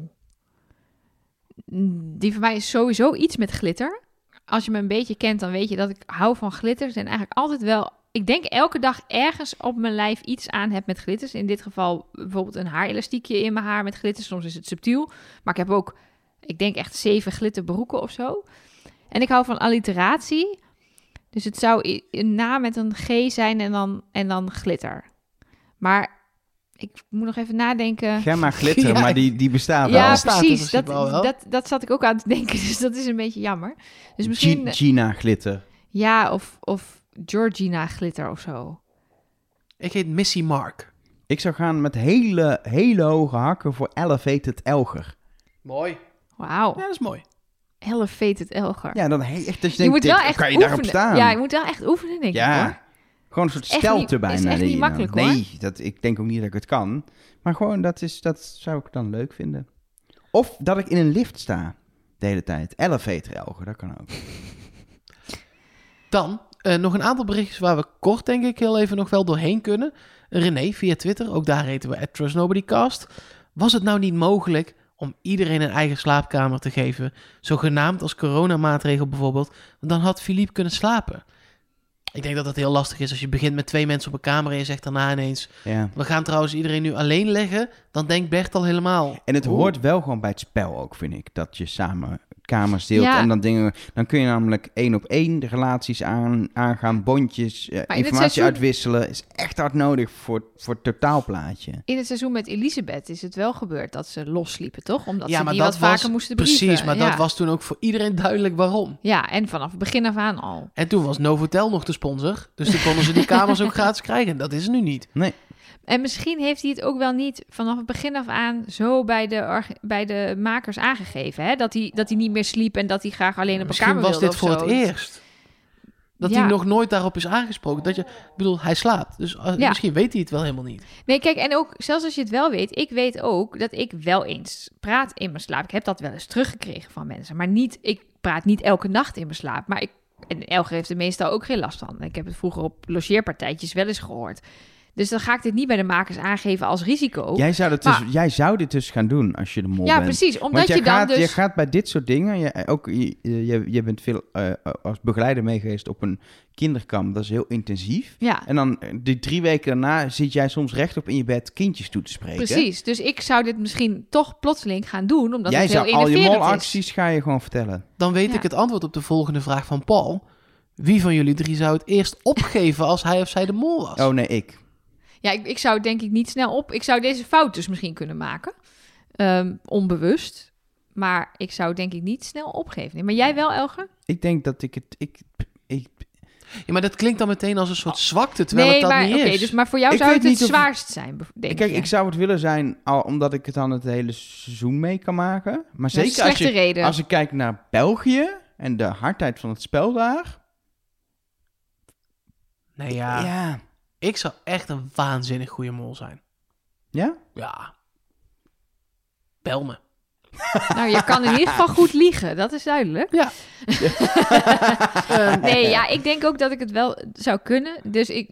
S3: Die voor mij is sowieso iets met glitter. Als je me een beetje kent, dan weet je dat ik hou van glitters. En eigenlijk altijd wel... Ik denk elke dag ergens op mijn lijf iets aan heb met glitters. In dit geval bijvoorbeeld een haarelastiekje in mijn haar met glitters. Soms is het subtiel. Maar ik heb ook, ik denk echt zeven glitterbroeken of zo. En ik hou van alliteratie. Dus het zou i- een naam met een G zijn en dan, en dan glitter. Maar ik moet nog even nadenken.
S1: Gemma Glitter,
S2: Ja,
S1: maar die, die bestaat
S3: Ja, dus
S1: al.
S2: staat er
S3: precies.
S2: in
S3: Dat,
S2: principe al wel.
S3: dat, dat zat ik ook aan te denken, dus dat is een beetje jammer. Dus misschien, eh,
S1: Gi- Gina Glitter.
S3: ja, of, of Georgina glitter of zo.
S2: Ik heet Missy Mark.
S1: Ik zou gaan met hele, hele hoge hakken voor elevated elger.
S2: Mooi.
S3: Wauw,
S2: Ja, dat is mooi.
S3: elevated elger.
S1: Ja, dan he- echt, dat je
S3: je
S1: denkt,
S3: moet
S1: dit-
S3: wel echt
S1: kan je
S3: oefenen.
S1: daarop staan?
S3: Ja, je moet wel echt oefenen, denk ik.
S1: Ja.
S3: Hoor.
S1: Gewoon een soort
S3: Echt niet-
S1: stelte
S3: is
S1: bijna.
S3: echt
S1: die
S3: niet
S1: je dan-
S3: makkelijk, hoor.
S1: Nee, dat, ik denk ook niet dat ik het kan. Maar gewoon, dat, is, dat zou ik dan leuk vinden. Of dat ik in een lift sta de hele tijd. Elevator elger, dat kan ook.
S2: Dan eh, nog een aantal berichtjes waar we kort, denk ik, heel even nog wel doorheen kunnen. René via Twitter, ook daar heten we @trustnobodycast. Was het nou niet mogelijk om iedereen een eigen slaapkamer te geven, zogenaamd als coronamaatregel bijvoorbeeld, want dan had Philippe kunnen slapen. Ik denk dat dat heel lastig is als je begint met twee mensen op een kamer en je zegt daarna ineens:
S1: Ja.
S2: we gaan trouwens iedereen nu alleen leggen, dan denkt Bert al helemaal.
S1: En het
S2: Oeh.
S1: hoort wel gewoon bij het spel ook, vind ik. Dat je samen kamers deelt
S3: Ja.
S1: en dan dingen... Dan kun je namelijk één op één de relaties aan, aangaan, bondjes, eh,
S3: dit
S1: informatie
S3: seizoen-
S1: uitwisselen. Is echt hard nodig voor, voor het totaalplaatje.
S3: In het seizoen met Elisabeth is het wel gebeurd dat ze losliepen, toch? Omdat ze die
S2: dat
S3: wat vaker
S2: was-
S3: moesten brieven.
S2: Precies, maar
S3: ja.
S2: dat was toen ook voor iedereen duidelijk waarom.
S3: Ja, en vanaf het begin af aan al.
S2: En toen was Novotel nog de sponsor. Dus toen konden ze die kamers ook gratis krijgen. Dat is nu niet.
S1: Nee.
S3: En misschien heeft hij het ook wel niet vanaf het begin af aan zo bij de, orga- bij de makers aangegeven. Hè? Dat, hij, dat hij niet meer sliep en dat hij graag alleen op een
S2: Misschien
S3: kamer
S2: was
S3: wilde
S2: dit
S3: of zo.
S2: voor het eerst. Dat
S3: Ja.
S2: hij nog nooit daarop is aangesproken. Dat je, ik bedoel, hij slaapt. Dus eh,
S3: Ja.
S2: misschien weet hij het wel helemaal niet.
S3: Nee, kijk, en ook zelfs als je het wel weet, ik weet ook dat ik wel eens praat in mijn slaap. Ik heb dat wel eens teruggekregen van mensen, maar niet, ik praat niet elke nacht in mijn slaap. Maar ik, en Elger heeft er meestal ook geen last van. Ik heb het vroeger op logeerpartijtjes wel eens gehoord. Dus dan ga ik dit niet bij de makers aangeven als risico.
S1: Jij zou, dit
S3: Maar-
S1: dus, jij zou dit dus gaan doen als je de mol
S3: ja,
S1: bent.
S3: precies. Omdat
S1: Want
S3: je,
S1: jij
S3: dan
S1: gaat,
S3: dus...
S1: je gaat bij dit soort dingen, je, eh, ook, je, je, je bent veel eh, als begeleider mee geweest op een kinderkamp, dat is heel intensief.
S3: Ja,
S1: En dan eh, die drie weken daarna zit jij soms rechtop in je bed kindjes toe te spreken.
S3: precies. Dus ik zou dit misschien toch plotseling gaan doen, omdat
S1: jij
S3: het heel
S1: zou al je
S3: innoverend is.
S1: molacties ga je gewoon vertellen.
S2: Dan weet
S3: Ja.
S2: ik het antwoord op de volgende vraag van Paul. Wie van jullie drie zou het eerst opgeven als hij of zij de mol was?
S1: Oh nee, ik.
S3: Ja, ik, ik zou het denk ik niet snel op. Ik zou deze fout dus misschien kunnen maken. Ehm, onbewust. Maar ik zou het denk ik niet snel opgeven. Nee, maar jij wel, Elger?
S1: Ik denk dat ik het. Ik, ik,
S2: Ja, maar dat klinkt dan meteen als een soort zwakte, terwijl
S3: nee,
S2: het dat
S3: maar
S2: niet is.
S3: dus, maar voor jou
S1: Ik
S3: zou
S1: weet
S3: het het
S1: niet of-
S3: zwaarst zijn, bev- denk
S1: kijk,
S3: je.
S1: ik zou het willen zijn, al, omdat ik het dan het hele seizoen mee kan maken. Maar
S3: Dat is
S1: zeker
S3: een
S1: als,
S3: slechte
S1: je,
S3: reden.
S1: als ik kijk naar België en de hardheid van het spel daar.
S2: Nee, ja.
S1: ja.
S2: Ik zou echt een waanzinnig goede mol zijn.
S1: Ja?
S2: Ja. Bel me.
S3: Nou, je kan in ieder geval goed liegen. Dat is duidelijk.
S2: Ja. Ehm,
S3: nee, ja, ik denk ook dat ik het wel zou kunnen. Dus ik,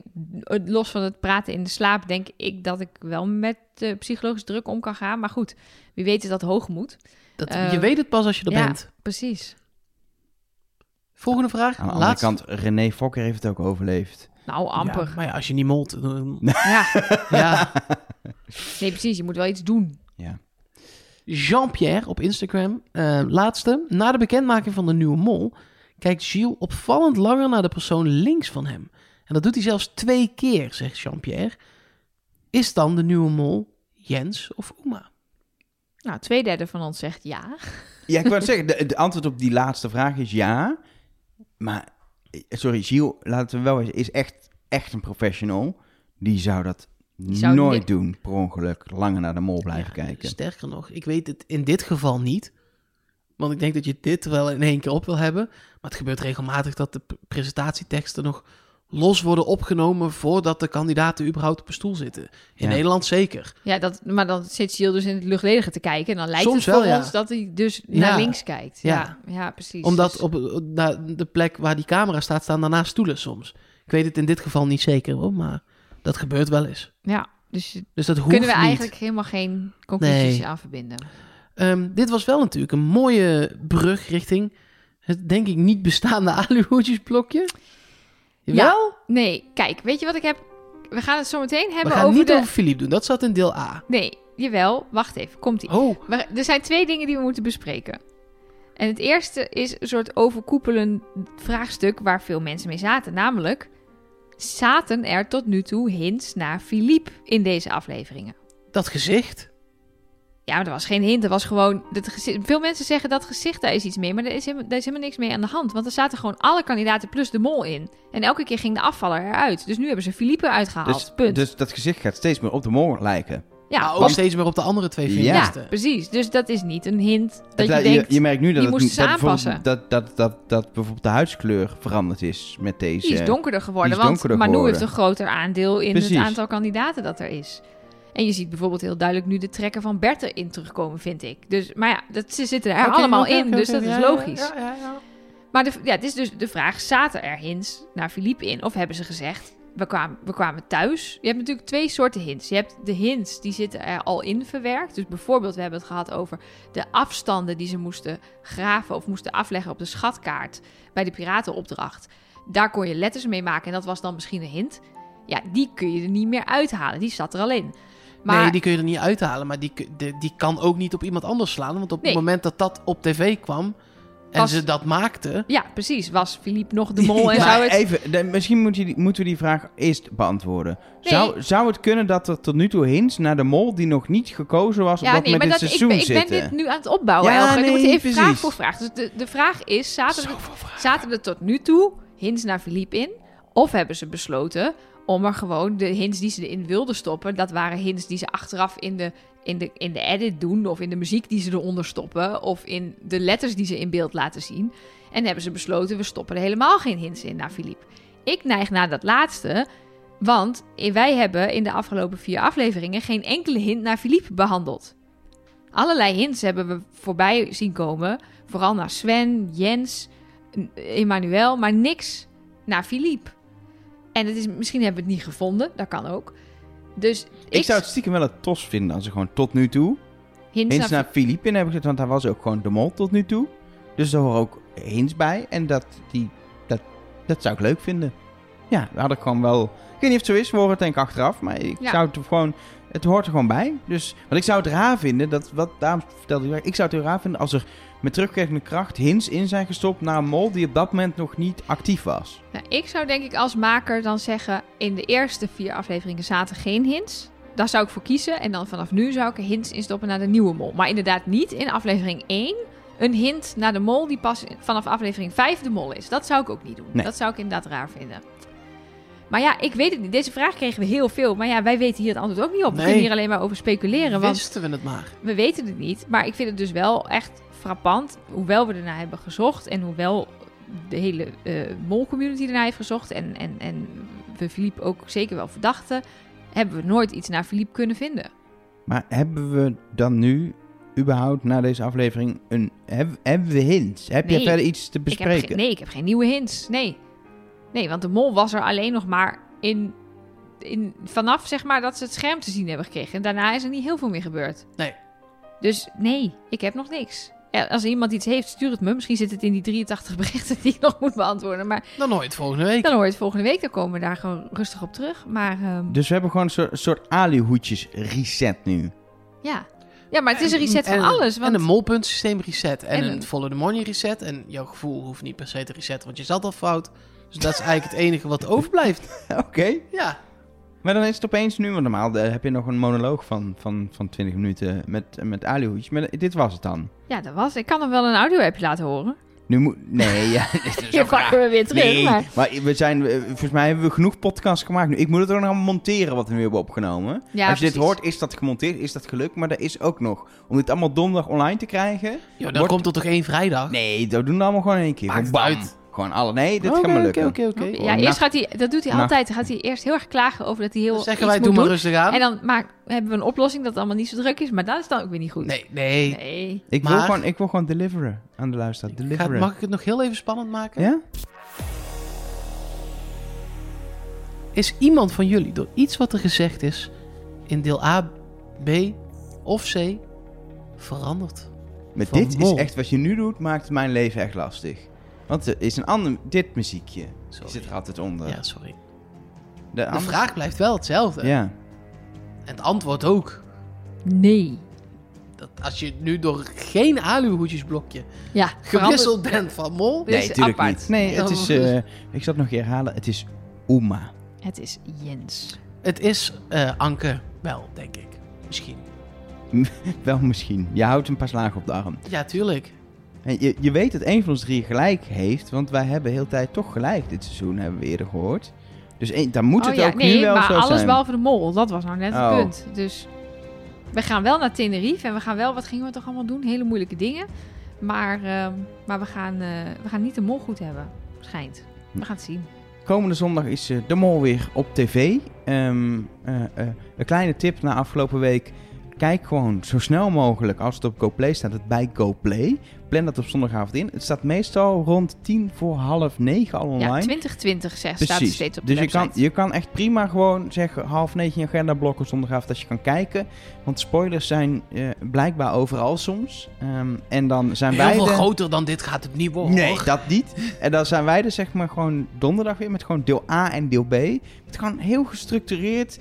S3: los van het praten in de slaap, denk ik dat ik wel met de psychologische druk om kan gaan. Maar goed, wie weet is dat hoog moet.
S2: Dat,
S3: Eh,
S2: je weet het pas als je er
S3: ja.
S2: bent.
S3: Precies.
S2: Volgende vraag.
S1: Aan de
S2: Laatste.
S1: andere kant, René Fokker heeft het ook overleefd.
S3: Nou,
S2: Ja,
S3: amper.
S2: maar ja, als je niet molt. dan-
S3: ja.
S2: Ja.
S3: Nee, precies. Je moet wel iets doen.
S2: Jean-Pierre op Instagram. eh, laatste. Na de bekendmaking van de nieuwe mol kijkt Gilles opvallend langer naar de persoon links van hem. En dat doet hij zelfs twee keer, zegt Jean-Pierre. Is dan de nieuwe mol Jens of Oema?
S3: Nou, twee derde van ons zegt ja.
S1: Ja, ik wou het zeggen, de, de antwoord op die laatste vraag is ja. Maar, eh, sorry, Gilles, laten we wel eens, is echt, echt een professional. Die zou dat
S3: zou
S1: nooit
S3: ni-
S1: doen, per ongeluk. Langer naar de mol blijven
S2: Ja,
S1: kijken.
S2: Sterker nog, ik weet het in dit geval niet. Want ik denk dat je dit wel in één keer op wil hebben. Maar het gebeurt regelmatig dat de p- presentatieteksten nog los worden opgenomen voordat de kandidaten überhaupt op een stoel zitten.
S1: Ja.
S2: In Nederland zeker.
S3: Ja, dat, maar dan zit Giel dus in het luchtledige te kijken. En dan lijkt
S2: Soms
S3: het voor
S2: wel, ja.
S3: ons dat hij dus
S2: Ja.
S3: naar links kijkt.
S2: Ja.
S3: Ja, ja, precies.
S2: Omdat
S3: Dus-
S2: op, op- na- de plek waar die camera staat, staan daarna stoelen soms. Ik weet het in dit geval niet zeker hoor, maar dat gebeurt wel eens.
S3: Ja, dus
S2: Dus dat hoeft
S3: kunnen we
S2: niet.
S3: eigenlijk helemaal geen conclusies
S2: Nee.
S3: aan verbinden.
S2: Ehm, dit was wel natuurlijk een mooie brug richting het denk ik niet bestaande aluhoedjesblokje. Jawel?
S3: Nee, kijk, weet je wat ik heb? We gaan het zo meteen
S2: we
S3: hebben
S2: gaan
S3: over
S2: niet
S3: de...
S2: over Philippe doen, dat zat in deel A.
S3: Nee, jawel. Wacht even, komt-ie.
S2: Oh,
S3: Maar er zijn twee dingen die we moeten bespreken. En het eerste is een soort overkoepelend vraagstuk waar veel mensen mee zaten. Namelijk, zaten er tot nu toe hints naar Philippe in deze afleveringen?
S2: dat gezicht.
S3: Ja, maar er was geen hint. Er was gewoon... Dat gezicht- veel mensen zeggen dat gezicht, daar is iets mee. Maar daar is, helemaal, daar is helemaal niks mee aan de hand. Want er zaten gewoon alle kandidaten plus de mol in. En elke keer ging de afvaller eruit. Dus nu hebben ze Philippe uitgehaald.
S1: Dus,
S3: Punt.
S1: dus dat gezicht gaat steeds meer op de mol lijken.
S3: ja,
S2: Maar Nou, ook
S1: want-
S2: steeds meer op de andere
S1: Ja.
S2: twee
S3: ja,
S2: finalisten.
S3: precies. Dus dat is niet een hint dat
S1: Het
S3: je
S1: lij-
S3: denkt...
S1: je merkt nu dat, het,
S3: die moesten ze
S1: dat, bijvoorbeeld-
S3: aanpassen.
S1: dat, dat, dat, dat bijvoorbeeld de huidskleur veranderd is met deze.
S3: Die is donkerder geworden,
S1: die is
S3: want
S1: donkerder
S3: Manu
S1: geworden.
S3: heeft een groter aandeel in
S1: Precies.
S3: het aantal kandidaten dat er is. En je ziet bijvoorbeeld heel duidelijk nu de trekken van Bert erin terugkomen, vind ik. Dus, maar ja, dat, ze zitten er allemaal in, dus dat is logisch. Maar de, ja, het is dus de vraag, zaten er hints naar Philippe in? Of hebben ze gezegd, we kwamen, we kwamen thuis? Je hebt natuurlijk twee soorten hints. Je hebt de hints, die zitten er al in verwerkt. Dus bijvoorbeeld, we hebben het gehad over de afstanden die ze moesten graven... of moesten afleggen op de schatkaart bij de piratenopdracht. Daar kon je letters mee maken en dat was dan misschien een hint. Ja, die kun je er niet meer uithalen, die zat er al in. Maar
S2: Nee, die kun je er niet uithalen, maar die, ku- de- die kan ook niet op iemand anders slaan. Want op
S3: Nee.
S2: het moment dat dat op tv kwam en
S3: Was-
S2: ze dat maakten...
S3: ja, precies, was Philippe nog de mol en
S1: Maar
S3: zou het...
S1: even, de- misschien moet je die- moeten we die vraag eerst beantwoorden.
S3: Nee.
S1: Zou, zou het kunnen dat er tot nu toe hints naar de mol die nog niet gekozen was op
S3: Ja,
S1: dat
S3: nee,
S1: moment
S3: maar
S1: dit
S3: dat,
S1: seizoen
S3: ik, ben, ik ben
S1: zitten?
S3: dit nu aan het opbouwen.
S1: Ja,
S3: Ja, Elger.
S1: nee,
S3: Dan moet je even
S1: precies.
S3: vraag voor vraag. Dus de, de vraag is, zaten er, zaten er tot nu toe hints naar Philippe in? Of hebben ze besloten om er gewoon de hints die ze erin wilden stoppen... dat waren hints die ze achteraf in de, in, de, in de edit doen... of in de muziek die ze eronder stoppen... of in de letters die ze in beeld laten zien. En hebben ze besloten, we stoppen er helemaal geen hints in naar Philippe. Ik neig naar dat laatste... Want wij hebben in de afgelopen vier afleveringen geen enkele hint naar Philippe behandeld. Allerlei hints hebben we voorbij zien komen. Vooral naar Sven, Jens, Emmanuel, maar niks naar Philippe. En het is, misschien hebben we het niet gevonden, dat kan ook. Dus ik,
S1: Ik zou het stiekem wel het tos vinden als ze gewoon tot nu toe
S3: hints
S1: Eens
S3: naar-
S1: naar Filipin hebben gezet, want daar was ook gewoon de mol tot nu toe. Dus daar horen ook eens bij. En dat, die, dat, dat zou ik leuk vinden. Ja, daar had ik gewoon wel... Ik weet niet of het zo is, we horen het denk ik achteraf. Maar ik
S3: Ja.
S1: zou het gewoon... Het hoort er gewoon bij. Dus, want ik zou het raar vinden, dat, wat, daarom vertelde ik... Ik zou het heel raar vinden als er met terugkerkende kracht hints in zijn gestopt naar een mol die op dat moment nog niet actief was.
S3: Nou, ik zou denk ik als maker dan zeggen... in de eerste vier afleveringen zaten geen hints. Daar zou ik voor kiezen. En dan vanaf nu zou ik er hints in stoppen naar de nieuwe mol. Maar inderdaad niet in aflevering 1 een hint naar de mol... die pas vanaf aflevering 5 de mol is. Dat zou ik ook niet doen.
S1: Nee.
S3: Dat zou ik inderdaad raar vinden. Maar ja, ik weet het niet. Deze vraag kregen we heel veel. Maar ja, wij weten hier het antwoord ook niet op. We
S2: Nee.
S3: kunnen hier alleen maar over speculeren. Want
S2: Wisten we het maar.
S3: we weten het niet, maar ik vind het dus wel echt frappant. Hoewel we ernaar hebben gezocht en hoewel de hele eh mol-community ernaar heeft gezocht... en, en, en we Philippe ook zeker wel verdachten... hebben we nooit iets naar Philippe kunnen vinden.
S1: Maar hebben we dan nu überhaupt na deze aflevering een... Heb, hebben we hints? Heb
S3: Nee.
S1: je verder iets te
S3: Ik heb geen-
S1: bespreken?
S3: nee, ik heb geen nieuwe hints. Nee. nee, want de mol was er alleen nog maar in, in... vanaf zeg maar dat ze het scherm te zien hebben gekregen. En daarna is er niet heel veel meer gebeurd.
S2: Nee.
S3: Dus nee, ik heb nog niks. Ja, als iemand iets heeft, stuur het me. Misschien zit het in die 83 berichten die ik nog moet beantwoorden. Maar
S2: Dan nooit volgende week.
S3: Dan hoor je het volgende week, dan komen we daar gewoon rustig op terug. Maar ehm,
S1: Dus we hebben gewoon een soort, soort alihoedjes reset nu.
S3: ja. ja, maar het is een reset
S2: En-
S3: van alles. Want,
S2: En een molpuntsysteem reset. En,
S3: En
S2: een
S3: een-
S2: follow the money reset. En jouw gevoel hoeft niet per se te resetten, want je zat al fout. Dus dat is eigenlijk het enige wat overblijft.
S1: Oké.
S2: Ja.
S1: Maar dan is het opeens nu, want normaal eh, heb je nog een monoloog van, van, van 20 minuten met, met alihoedjes. Maar dit was het dan.
S3: Ja, dat was. Ik kan hem wel een audio-appje laten horen.
S1: Nu moet... Nee, ja. dit is
S3: Je
S1: ook raar.
S3: pakken we weer terug.
S1: Nee,
S3: Maar...
S1: maar we zijn, eh, volgens mij hebben we genoeg podcasts gemaakt nu. Ik moet het ook nog allemaal monteren wat we nu hebben opgenomen.
S3: Ja,
S1: Als je dit
S3: precies.
S1: hoort, is dat gemonteerd, is dat gelukt. Maar er is ook nog, om dit allemaal donderdag online te krijgen...
S2: Yo, dan
S1: Wordt-
S2: komt er toch één vrijdag?
S1: Nee, dat doen we allemaal gewoon in één keer.
S2: Maakt
S1: Gewoon bam.
S2: het uit.
S1: Gewoon alle... Nee, dit
S2: Oké,
S1: gaat me lukken.
S2: Oké, oké, oké.
S3: Ja, eerst
S1: nacht-
S3: gaat hij, dat doet hij
S1: nacht-
S3: altijd. Dan gaat hij eerst heel erg klagen over dat hij heel.
S2: Dan zeggen
S3: iets
S2: wij,
S3: moet
S2: doe maar
S3: doen.
S2: rustig aan.
S3: En dan maak, hebben we een oplossing dat het allemaal niet zo druk is. Maar dat is dan ook weer niet goed.
S2: Nee, nee.
S3: Nee.
S1: Ik, wil
S2: Maar-
S1: gewoon, ik wil gewoon deliveren aan de luisteraar.
S2: Gaat,
S1: Deliveren.
S2: mag ik het nog heel even spannend maken?
S1: Ja?
S2: Is iemand van jullie door iets wat er gezegd is in deel A, B of C veranderd?
S1: Met
S2: Van
S1: dit
S2: Mol.
S1: is echt wat je nu doet, maakt mijn leven echt lastig. Want er is een ander. Dit muziekje
S2: Sorry.
S1: zit er altijd onder.
S2: Ja, sorry.
S1: De
S2: De
S1: andere-
S2: vraag blijft wel hetzelfde.
S1: Ja.
S2: En het antwoord ook.
S3: Nee.
S2: Dat als je nu door geen aluhoedjesblokje
S3: Ja,
S2: gewisseld
S3: veranderd.
S2: bent van mol,
S3: Dit
S1: Nee,
S3: is
S1: natuurlijk
S3: apart. oh.
S1: niet. Nee, het is. eh, ik zal het nog een keer herhalen. Het is Uma.
S3: Het is Jens.
S2: het is eh, Anke wel, denk ik. Misschien.
S1: Wel misschien. Je houdt een paar slagen op de arm.
S2: Ja, tuurlijk.
S1: En je, je weet dat een van ons drie gelijk heeft, want wij hebben heel de tijd toch gelijk dit seizoen, hebben we eerder gehoord. Dus één- dan moet
S3: oh
S1: het
S3: ja,
S1: ook
S3: nee,
S1: nu wel
S3: maar
S1: zo
S3: alles
S1: zijn.
S3: behalve de mol. Dat was nou net
S1: Oh.
S3: het punt. Dus we gaan wel naar Tenerife en we gaan wel... Wat gingen we toch allemaal doen? Hele moeilijke dingen. Maar, ehm, maar we, gaan, eh, we gaan niet de mol goed hebben. Schijnt. We gaan het zien.
S1: Komende zondag is eh, De Mol weer op tv. Ehm, eh, eh, een kleine tip na afgelopen week. Kijk gewoon zo snel mogelijk. Als het op GoPlay staat, het bij GoPlay. Plan dat op zondagavond in. Het staat meestal rond tien voor half negen al online.
S3: Ja, 2020 zegt, staat er steeds op de
S1: dus je kan,
S3: website.
S1: je kan echt prima gewoon zeggen half negen je agenda blokken zondagavond dat je kan kijken. Want spoilers zijn eh, blijkbaar overal soms. Ehm, en dan zijn wij
S2: Heel veel
S1: de-
S2: groter dan dit gaat het niet
S3: Oh,
S2: worden.
S1: Nee,
S2: hoor.
S1: dat niet. En dan zijn wij dus zeg maar gewoon donderdag weer met gewoon deel A en deel B. Met gewoon heel gestructureerd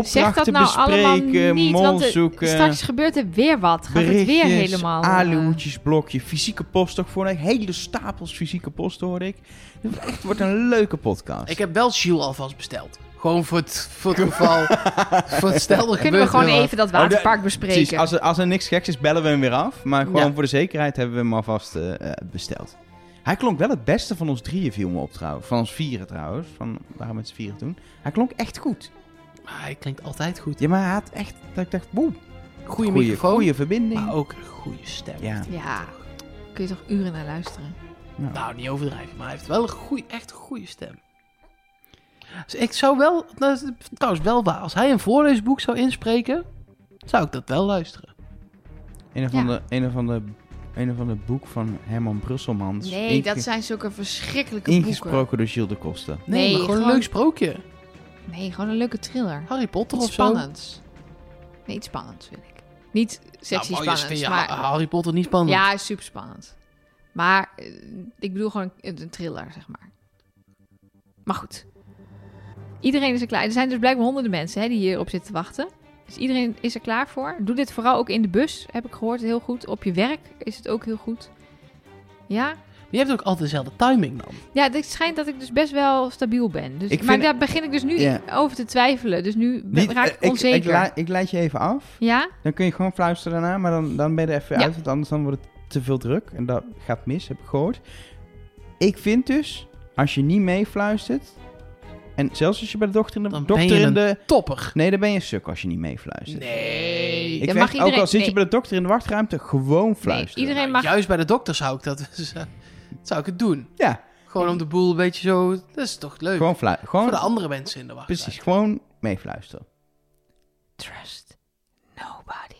S3: Zeg dat
S1: opdrachten
S3: nou allemaal
S1: bespreken,
S3: niet,
S1: mol
S3: want er-
S1: zoeken,
S3: straks gebeurt er weer wat. Gaat het weer
S1: eh, berichtjes,
S3: helemaal... eh,
S1: aluhoedjes, blokje, fysieke post ook voor. Hele stapels fysieke post hoor ik. Het wordt echt- wordt een leuke podcast.
S2: Ik heb wel Shield alvast besteld. Gewoon voor het, voor het geval. voor het stel er
S3: kunnen we
S2: gebeurt
S3: gewoon
S2: weer wat.
S3: even dat waterpark bespreken.
S1: Oh, Precies, als er, als er niks geks is, bellen we hem weer af. Maar gewoon
S2: Ja.
S1: voor de zekerheid hebben we hem alvast eh, eh, besteld. Hij klonk wel het beste van ons drieën, viel me op trouwens. Van ons vieren trouwens. Van waarom met z'n vieren toen. Hij klonk echt goed.
S2: Maar Ah, hij klinkt altijd goed.
S1: Ja, maar hij had echt... Dat ik dacht, woe.
S2: Goede
S1: goeie-
S2: microfoon.
S1: goeie verbinding.
S2: Maar ook een goede stem.
S1: Ja.
S3: Ja, kun je toch uren naar luisteren.
S2: Nou, niet overdrijven, maar hij heeft wel een goeie, echt een goede stem. Dus ik zou wel, nou, dat is trouwens wel waar, als hij een voorleesboek zou inspreken, zou ik dat wel luisteren.
S1: Een of
S3: Ja.
S1: ander, een of ander, een of ander boek van Herman Brusselmans.
S3: Nee,
S1: Inge-
S3: dat zijn zulke verschrikkelijke boeken.
S1: Ingesproken door Gilles de Koster.
S2: Nee,
S3: Nee,
S2: maar gewoon een
S3: gewoon-
S2: leuk sprookje.
S3: Nee, gewoon een leuke thriller.
S2: Harry Potter
S3: Iets
S2: of zo.
S3: spannends. Nee, iets spannends wil ik. Niet sexy
S2: Nou, boys, vind
S3: spannends,
S2: je
S3: maar...
S2: Ha- Harry Potter niet spannend?
S3: Ja, is super spannend. Maar eh, ik bedoel gewoon een, een thriller, zeg maar. Maar goed. Iedereen is er klaar. Er zijn dus blijkbaar honderden mensen hè, die hierop zitten te wachten. Dus iedereen is er klaar voor. Doe dit vooral ook in de bus, heb ik gehoord, heel goed. Op je werk is het ook heel goed. Ja,
S2: Maar je hebt ook altijd dezelfde timing dan.
S3: ja het schijnt dat ik dus best wel stabiel ben. Dus,
S1: Ik
S3: maar
S1: vind-
S3: daar begin ik dus nu
S1: Ja.
S3: over te twijfelen. Dus nu ben-
S1: Niet-
S3: raak
S1: eh,
S3: ik
S1: ik,
S3: onzeker.
S1: ik, la- ik leid je even af.
S3: Ja?
S1: Dan kun je gewoon fluisteren daarna, maar dan, dan ben je er even
S3: Ja.
S1: uit. Want anders dan wordt het te veel druk. En dat gaat mis, heb ik gehoord. Ik vind dus, als je niet meefluistert... En zelfs als je bij de dokter in de...
S2: Dan ben
S1: dokter
S2: je
S1: in
S2: een
S1: de
S2: topper.
S1: nee, dan ben je een suk als je niet meefluistert.
S2: Nee.
S1: Ik
S3: Dan
S1: zeg,
S3: mag iedereen-
S1: ook al zit je
S3: nee.
S1: bij de dokter in de wachtruimte, gewoon fluisteren.
S3: iedereen-
S2: Nou,
S3: mag-
S2: Juist bij de dokter zou ik dat, dus, eh, zou ik het doen.
S1: Ja,
S2: Gewoon om de boel een beetje zo... Dat is toch leuk?
S1: gewoon fluisteren.
S2: Voor
S1: Gewoon,
S2: de andere mensen in de wacht.
S1: precies, gewoon meefluisteren.
S3: Trust nobody.